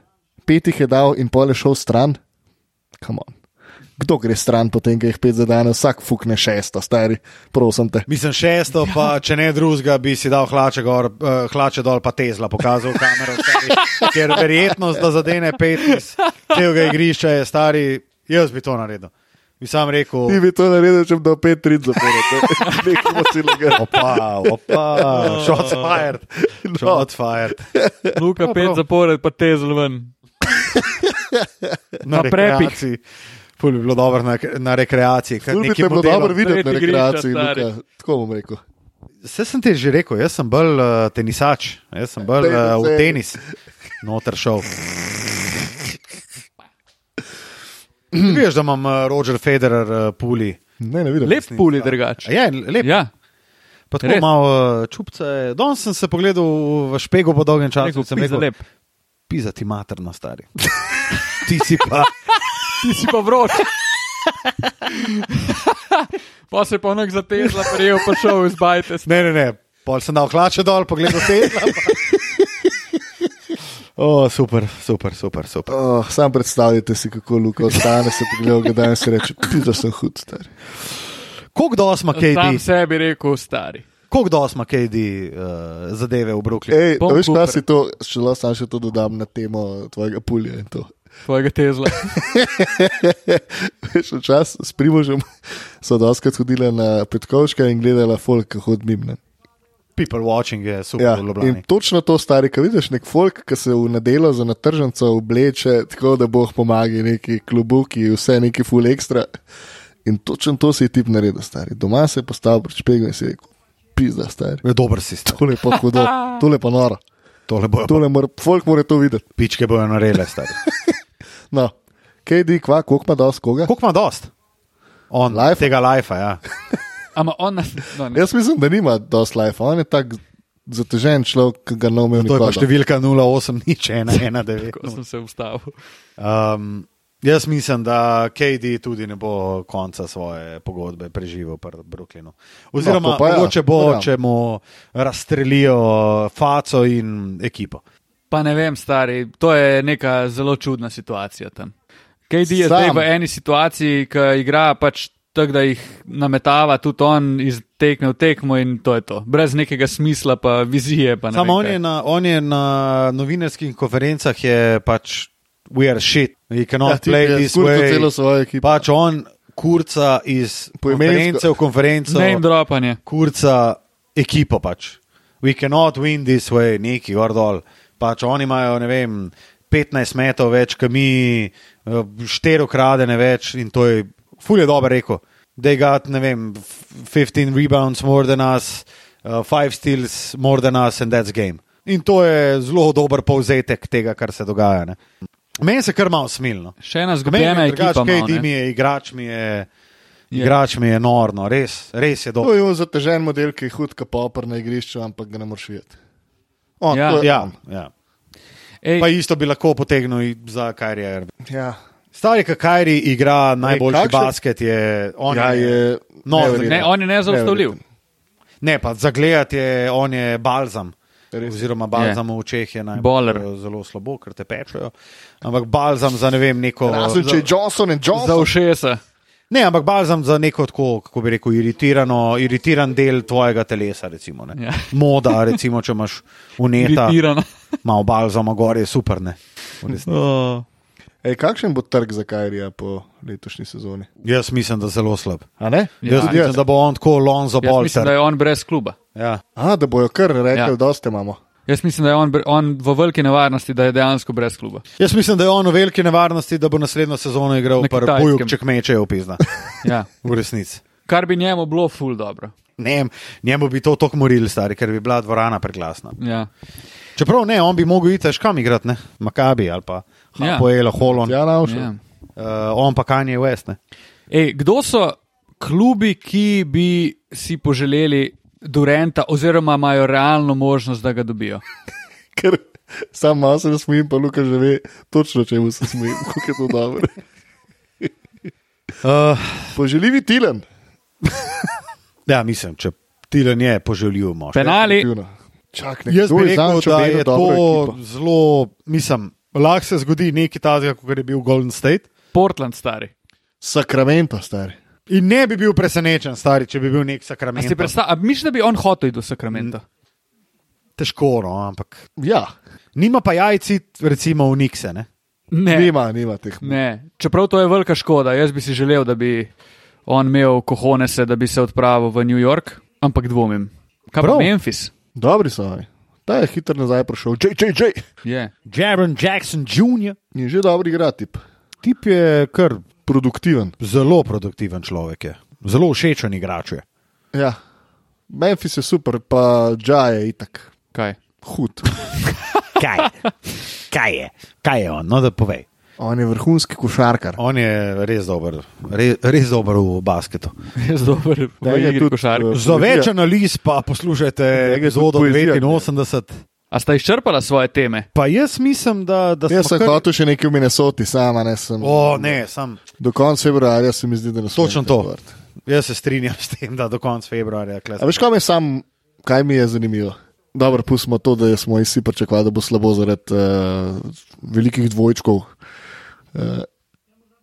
Speaker 3: pet jih je dal in pol je šel stran. Come on. Kdo gre stran, potem ga jih pet zadane, vsak fukne šesto, stari, prosim te.
Speaker 1: Mislim,
Speaker 3: Ja.
Speaker 1: šesto, pa če ne drugega, bi si dal hlače, gor, uh, hlače dol, pa Tesla pokazal v kamero. Stari, ker verjetnost, da zadene pet iz celega igrišča je stari, jaz bi to naredil. Bi sam rekel,
Speaker 3: Ti bi to naredil, če bi dal 5-3 zapored, nekaj mocilega.
Speaker 1: opa, opa, shots fired,
Speaker 3: No.
Speaker 1: shots fired.
Speaker 2: Luka pet zapored, pa te zelo ven. Na prepih.
Speaker 1: rekreaciji. Ful bi bilo dobro na, na rekreaciji. kar
Speaker 3: Ful bi
Speaker 1: nekaj
Speaker 3: te bilo
Speaker 1: modelov.
Speaker 3: dobro videti na
Speaker 2: Tretji grič,
Speaker 3: rekreaciji,
Speaker 2: stari.
Speaker 3: Luka. tako bom rekel.
Speaker 1: Saj sem ti že rekel, jaz sem bolj uh, tenisač, jaz sem bolj uh, v tenis, noter šel. Ti Veš, da imam uh, Roger Federer uh, puli.
Speaker 3: Ne, ne vidim.
Speaker 2: Lep puli drugače.
Speaker 1: Ja, je lep.
Speaker 2: Ja,
Speaker 1: Pa tako
Speaker 2: res.
Speaker 1: malo uh, čupce. Danes sem se pogledal v špego po dolgem času
Speaker 2: rekel
Speaker 1: in sem
Speaker 2: sem
Speaker 1: rekel,
Speaker 2: lep.
Speaker 1: pizati materno stari. [laughs] Ti si pa.
Speaker 2: Ti si pa vroč. [laughs] pa se je pa nek zatezla, prijel pa šel iz bajte.
Speaker 1: Ne, ne, ne. Pol sem dal hlače dol, pogledal te. [laughs] O, super, super, super. super.
Speaker 3: Oh, sam predstavljajte si, kako Luka ostane, se pogleda, da danes reče: Ti da sem hud, star.
Speaker 1: Koliko do osma
Speaker 2: Sam
Speaker 1: KD,
Speaker 2: sebi rekel, stari.
Speaker 1: koliko do osma KD uh, zadeve v Brooklynu?
Speaker 3: Ej,
Speaker 2: Bom
Speaker 3: a veš,
Speaker 2: Cooper.
Speaker 3: kaj si to, če lahko sam še to dodam na temo tvojega pulja in to. [laughs]
Speaker 2: Tvojega tezla.
Speaker 3: Veš, včasih s Primožem so doskrat hodila na Petkovška in gledala folk, kako odmimne.
Speaker 1: People watching je super
Speaker 3: Ja,
Speaker 1: v
Speaker 3: in
Speaker 1: Ljubljani.
Speaker 3: točno to, stari, ki vidiš nek folk, ki se v nedelo za natržnico obleče, tako da boh pomaga, neki klubuki, vse neki full ekstra. In točno to si je tip naredil, stari. Doma se je postavil pred špegom in si rekel, pizda, stari.
Speaker 1: Je dober sistem.
Speaker 3: Tole je pa
Speaker 2: [laughs]
Speaker 3: hudo, tole je pa noro.
Speaker 1: Tole bojo
Speaker 3: Tole mora, folk mora to videti.
Speaker 1: pičke bojo naredile, stari.
Speaker 3: No, KD, kva, koliko ima dos koga?
Speaker 1: [laughs] Koliko ima dost? On,
Speaker 3: Lifea?
Speaker 1: life. tega lajfa, ja.
Speaker 2: Ampak on nas. No, ne.
Speaker 3: Jaz mislim, da nima dos life, on je tak zatežen človek, ki ga ne umem
Speaker 1: To je pa
Speaker 3: nikoli.
Speaker 1: številka 08, nič [laughs] 119.
Speaker 2: Ko sem se ustavil.
Speaker 1: Um, jaz mislim, da KD tudi ne bo konca svoje pogodbe preživel v Brooklynu.
Speaker 3: No,
Speaker 1: Oziroma,
Speaker 3: to
Speaker 1: no,
Speaker 3: pa ja,
Speaker 1: mogoče bo,
Speaker 3: to ja.
Speaker 1: če mu razstrelijo faco in ekipo.
Speaker 2: Pa ne vem, stari, to je neka zelo čudna situacija tam. KD je
Speaker 3: Sam.
Speaker 2: zdaj v eni situaciji, ki igra pač tako, da jih nametava tudi on iz tekme v tekmo in to je to. Brez nekega smisla, pa vizije. Pa ne
Speaker 1: Samo
Speaker 2: vem
Speaker 1: on
Speaker 2: kaj.
Speaker 1: je, na, on je na novinarskih konferencah je pač we are shit, we
Speaker 3: Ja,
Speaker 1: cannot
Speaker 3: tip
Speaker 1: play
Speaker 3: je
Speaker 1: this
Speaker 3: skurcal
Speaker 1: way.
Speaker 3: celo svojo ekipo.
Speaker 1: Pač on kurca iz
Speaker 3: Poimensko.
Speaker 1: konference v konferenco.
Speaker 2: Name dropanje.
Speaker 1: kurca ekipo pač. We cannot win this way, neki gor dol. Pač oni imajo, ne vem, 15 metrov več, kot mi, eh, štiri ukradene več in to je, ful je dobro rekel. They got, ne vem, f- 15 rebounds more than us, 5 steals more than us and that's game. In to je zelo dober povzetek tega, kar se dogaja. Ne? Meni se kar malo smilno.
Speaker 2: Še ena
Speaker 1: Meni
Speaker 2: zgubljena
Speaker 1: je drugače,
Speaker 2: ekipa. malo,
Speaker 1: KD
Speaker 2: ne.
Speaker 1: mi je, igrač mi je, igrač mi je norno, res, res je dobro.
Speaker 3: To je on zatežen model, ki je hud, ki popr na igrišču, ampak ga ne moreš videti. On,
Speaker 2: Ja.
Speaker 3: to je
Speaker 1: Ja,
Speaker 3: on.
Speaker 1: ja.
Speaker 2: Ej,
Speaker 1: Pa isto bi lahko potegnil i- za Kajri.
Speaker 3: Ja.
Speaker 1: Stari Kajri igra najboljši Ej,
Speaker 3: kakšen-
Speaker 1: basket, je, on
Speaker 3: Ja, je
Speaker 1: no,
Speaker 3: neverjetno.
Speaker 2: ne, on je nezaustavljiv.
Speaker 1: ne, pa za gledati je, on je balzam.
Speaker 3: Res.
Speaker 1: Oziroma, balzam v očeh je najbolj
Speaker 2: Baller.
Speaker 1: zelo slabo, ker te pečejo. Ampak balzam za ne vem, neko.
Speaker 3: Razen če je Johnson in
Speaker 2: Za
Speaker 3: Johnson.
Speaker 2: ušesa.
Speaker 1: Ne, ampak balzam za neko tako, kako bi rekel, iritirano, iritiran del tvojega telesa. Recimo, ne.
Speaker 2: Ja.
Speaker 1: Moda, recimo, če imaš uneta,
Speaker 2: Iritirana.
Speaker 1: malo balzama gor je super. Ne. V resnici.
Speaker 2: Oh.
Speaker 3: Ej, kakšen bo trg za Kajrija po letošnji sezoni?
Speaker 1: Jaz mislim, da zelo slab.
Speaker 3: A ne?
Speaker 1: Ja, jaz
Speaker 3: Tudi
Speaker 1: mislim,
Speaker 3: jaz.
Speaker 1: da bo on tako lonzo
Speaker 2: Jaz mislim, da
Speaker 1: bolter.
Speaker 2: je on brez kluba.
Speaker 1: Ja.
Speaker 3: A, da bojo kar rekli,
Speaker 2: Ja.
Speaker 3: ja. dosti imamo.
Speaker 2: Jaz mislim, da je on, br- on v veliki nevarnosti, da je dejansko brez kluba.
Speaker 1: Jaz mislim, da je on v veliki nevarnosti, da bo naslednjo sezono igral
Speaker 2: Na
Speaker 1: v
Speaker 2: Kitajskem.
Speaker 1: Parpuju, če kmeče je opizna.
Speaker 2: Ja.
Speaker 1: V resnici.
Speaker 2: Kar bi njemu bilo ful dobro.
Speaker 1: Ne, vem, njemu bi to tako morili, stari, ker bi bila dvorana preglasna.
Speaker 2: Ja.
Speaker 1: Čeprav ne, on bi mogel iti težkam igrati, ne? Makabi ali pa
Speaker 2: Ja.
Speaker 1: Hapoel, Holon,
Speaker 3: Ja,
Speaker 2: Ja.
Speaker 3: naušel.
Speaker 1: uh, on pa Kanye West. Ne?
Speaker 2: Ej, kdo so klubi, ki bi si poželeli Durenta, oziroma imajo realno možnost, da ga dobijo?
Speaker 3: [laughs] Ker sam malo se smejim, pa Luka že ve točno, čemu se smejim, [laughs] kako je to dobro.
Speaker 1: Uh,
Speaker 3: Poželivi Tilen.
Speaker 1: ja, mislim, če Tilen je poželjiv mož.
Speaker 2: Penali,
Speaker 3: Definitivno. Čak,
Speaker 1: Jaz
Speaker 3: nekdo
Speaker 1: bi
Speaker 3: je
Speaker 1: rekel,
Speaker 3: zanj,
Speaker 1: da je to
Speaker 3: to.
Speaker 1: zelo, mislim, lahko se zgodi nekaj takega, kot je bil Golden State.
Speaker 2: Portland, stari.
Speaker 3: Sakramento, stari.
Speaker 1: In ne bi bil presenečen, stari, če bi bil nek sakrament.
Speaker 2: Si predstavlj- a Misliš, da bi on hotel iti do Sakramenta?
Speaker 1: Težko, no, ampak.
Speaker 3: Ja,
Speaker 1: Nima pa jajci, recimo, v Nikse. Ne?
Speaker 2: Ne.
Speaker 3: Nima, nima teh.
Speaker 2: Ne. Čeprav to je velika škoda, jaz bi si želel, da bi on imel kohone, da bi se odpravil v New York, ampak dvomim. Kaj pa
Speaker 1: Prav.
Speaker 2: Memphis?
Speaker 3: Dobri so. aj. Ta je hitro nazaj prišel, že, že, že.
Speaker 2: Je.
Speaker 1: Jaron Jackson Jr.
Speaker 3: Je že dober igra, tip.
Speaker 1: Tip je kar
Speaker 3: produktiven.
Speaker 1: zelo produktiven človek, je. zelo všečen igrač. Je.
Speaker 3: Ja. Memphis je super, pa Džaj je itak
Speaker 2: Kaj? [laughs]
Speaker 3: hud.
Speaker 1: Kaj je? Kaj je? Kaj je on? No, da povej.
Speaker 3: On je vrhunski košarkar.
Speaker 1: On je res dober, re, res dober v basketu.
Speaker 2: Jaz dobro, da
Speaker 3: Da je
Speaker 2: je igri
Speaker 3: tudi,
Speaker 2: košarko.
Speaker 3: eh,
Speaker 1: Za
Speaker 3: Poezija.
Speaker 1: več analiz pa poslušajte
Speaker 3: je tudi
Speaker 1: epizodo
Speaker 3: poezija,
Speaker 1: 85.
Speaker 2: A sta izčrpala svoje teme?
Speaker 1: Pa jaz mislim, da, da
Speaker 3: Jaz
Speaker 1: smo
Speaker 3: sem
Speaker 1: kar-
Speaker 3: hotel še nekaj v Minnesoti, sama ne sem.
Speaker 1: O, ne, sam.
Speaker 3: Do konca februarja se mi zdi, da ne smem
Speaker 1: Točno
Speaker 3: kaj
Speaker 1: to.
Speaker 3: govoriti.
Speaker 1: Jaz se strinjam s tem, da do konca februarja. kle-
Speaker 3: A veš, kaj mi je sam, kaj mi je zanimivo? Dobro, pustimo to, da smo vsi pričakovali, da bo slabo zaradi uh, velikih dvojčkov.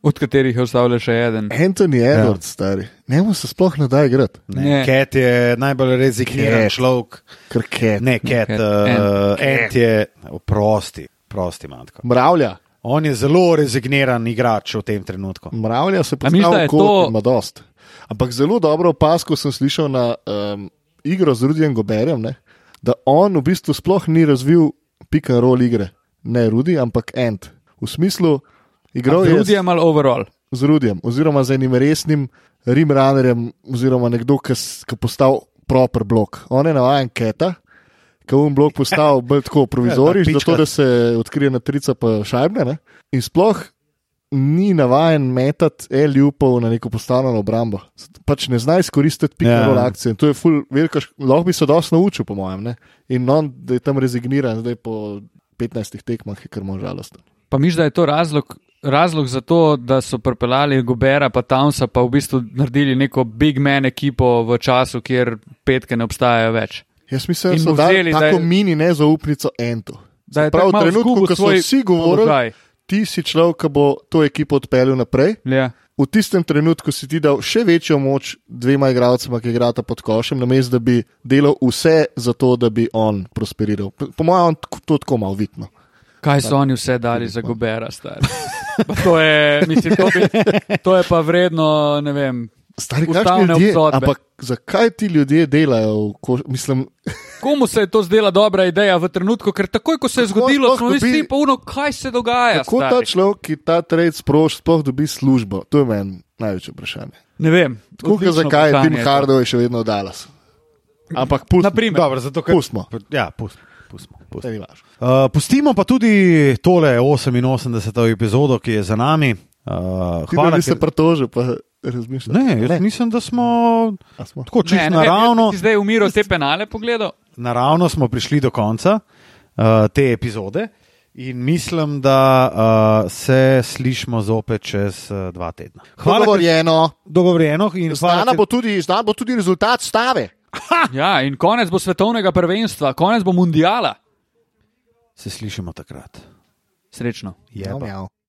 Speaker 2: Od katerih je ostal le še eden.
Speaker 3: Anthony Edwards, ja. stari, njemu se sploh ne da igrati.
Speaker 2: Ne.
Speaker 1: Ne. Cat je najbolj rezigniran
Speaker 3: Cat.
Speaker 1: človek.
Speaker 3: Krke,
Speaker 1: Ne, Cat,
Speaker 2: Cat,
Speaker 1: uh, Ant je, oprosti, prosti, matko.
Speaker 3: mravlja.
Speaker 1: On je zelo rezigniran igrač v tem trenutku.
Speaker 3: Mravlja se
Speaker 2: A misliš, da
Speaker 3: postavlja
Speaker 2: je
Speaker 3: kot
Speaker 2: to-
Speaker 3: to... ima dost. Ampak zelo dobro opasko sem slišal na um, igro z Rudijem Goberjem, ne? da on v bistvu sploh ni razvil pick and roll igre. Ne Rudi, ampak Ant. V smislu, igral je
Speaker 2: Rudi je
Speaker 3: z,
Speaker 2: mal overall.
Speaker 3: z Rudijem, oziroma z enim resnim rimranerjem, oziroma nekdo, ki je postal proper blok. On je navaden keta. Ki je un blok
Speaker 1: [laughs]
Speaker 3: postal bolj tako provizoriš,
Speaker 1: Ja, ta
Speaker 3: zato da se odkrije na trica pa šajbne. Ne? In sploh ni navaden metati L-upov na neko postavljeno obrambo. Pač ne zna izkoristiti
Speaker 1: Ja.
Speaker 3: pikarol akcije. In To je ful velika škoda. Lahko bi se dosti naučil, po mojem. Ne? In on, da je tam rezigniran, zdaj po 15 tekmah, je kar mu žalosten.
Speaker 2: Pa miš, da je to razlog, razlog za to, da so pripeljali Gobera pa Townsa, pa v bistvu naredili neko big man ekipo v času, kjer petke ne obstajajo več.
Speaker 3: Jaz mislim,
Speaker 2: In
Speaker 3: da
Speaker 2: mu
Speaker 3: so dali
Speaker 2: vzeli, da je-
Speaker 3: tako mini nezaupnico Entu.
Speaker 2: Da je
Speaker 3: Prav
Speaker 2: tako
Speaker 3: v
Speaker 2: malo
Speaker 3: trenutku,
Speaker 2: izgubil
Speaker 3: ko so
Speaker 2: svoj
Speaker 3: vsi govorili,
Speaker 2: položaj.
Speaker 3: ti si človek, ki bo to ekipo odpeljal naprej.
Speaker 2: Ja.
Speaker 3: v tistem trenutku si ti dal še večjo moč dvema igralcema, ki igrata pod košem, namesto da bi delal vse za to, da bi on prosperiral. Po po mojem, on tk- to tako malo vidno.
Speaker 2: Kaj so oni vse dali za Gobera, stari? Pa To je, mislim, to, bi, to je pa vredno, ne vem.
Speaker 3: Stari, kakšni
Speaker 2: Ustavne
Speaker 3: ljudje,
Speaker 2: obsodbe.
Speaker 3: ampak zakaj ti ljudje delajo? v Ko, mislim,
Speaker 2: Komu se je to zdela dobra ideja v trenutku, ker takoj, ko se je
Speaker 3: Kako
Speaker 2: zgodilo,
Speaker 3: sploh
Speaker 2: smo mi
Speaker 3: dobi-
Speaker 2: vsi polno, kaj se dogaja.
Speaker 3: kako ta
Speaker 2: Ja, stari?
Speaker 3: človek, ki ta trade sproži, sploh dobi službo? To je meni največje vprašanje.
Speaker 2: Ne vem.
Speaker 3: Tako
Speaker 2: odlično
Speaker 3: kot zakaj je
Speaker 2: vprašanje ja.
Speaker 3: Tim
Speaker 2: to.
Speaker 3: Hardaway še vedno dalas. Ampak pustimo.
Speaker 2: Naprimer.
Speaker 1: Dobro, zato, ker...
Speaker 3: Pustimo.
Speaker 1: Ja, pustimo. pustimo, pustimo.
Speaker 3: Ne, ni važno.
Speaker 1: Uh, pustimo pa tudi tole 88. epizodo, ki je za nami. Uh,
Speaker 3: Ti da
Speaker 1: hvala,
Speaker 3: bi se
Speaker 1: ker...
Speaker 3: pritožil, pa razmišljal.
Speaker 1: Ne, jaz mislim, da smo
Speaker 3: A smo?
Speaker 1: tako čisto
Speaker 2: Ne, ne vem, jaz
Speaker 1: naravno,
Speaker 2: bi Zdaj umiro te penale pogledal.
Speaker 1: naravno smo prišli do konca uh, te epizode in mislim, da uh, se slišmo zopet čez uh, dva tedna. Hvala, ker-
Speaker 3: Dogovorjeno.
Speaker 1: dogovorjeno in hvala.
Speaker 3: Znan
Speaker 1: ker-
Speaker 3: bo, tudi- znan bo tudi rezultat stave.
Speaker 1: Ah!
Speaker 2: Ja, in konec bo svetovnega prvenstva, konec bo mundiala.
Speaker 1: Se slišimo takrat.
Speaker 2: Srečno.
Speaker 1: Jeba.
Speaker 2: No,
Speaker 3: Mjav, mjav.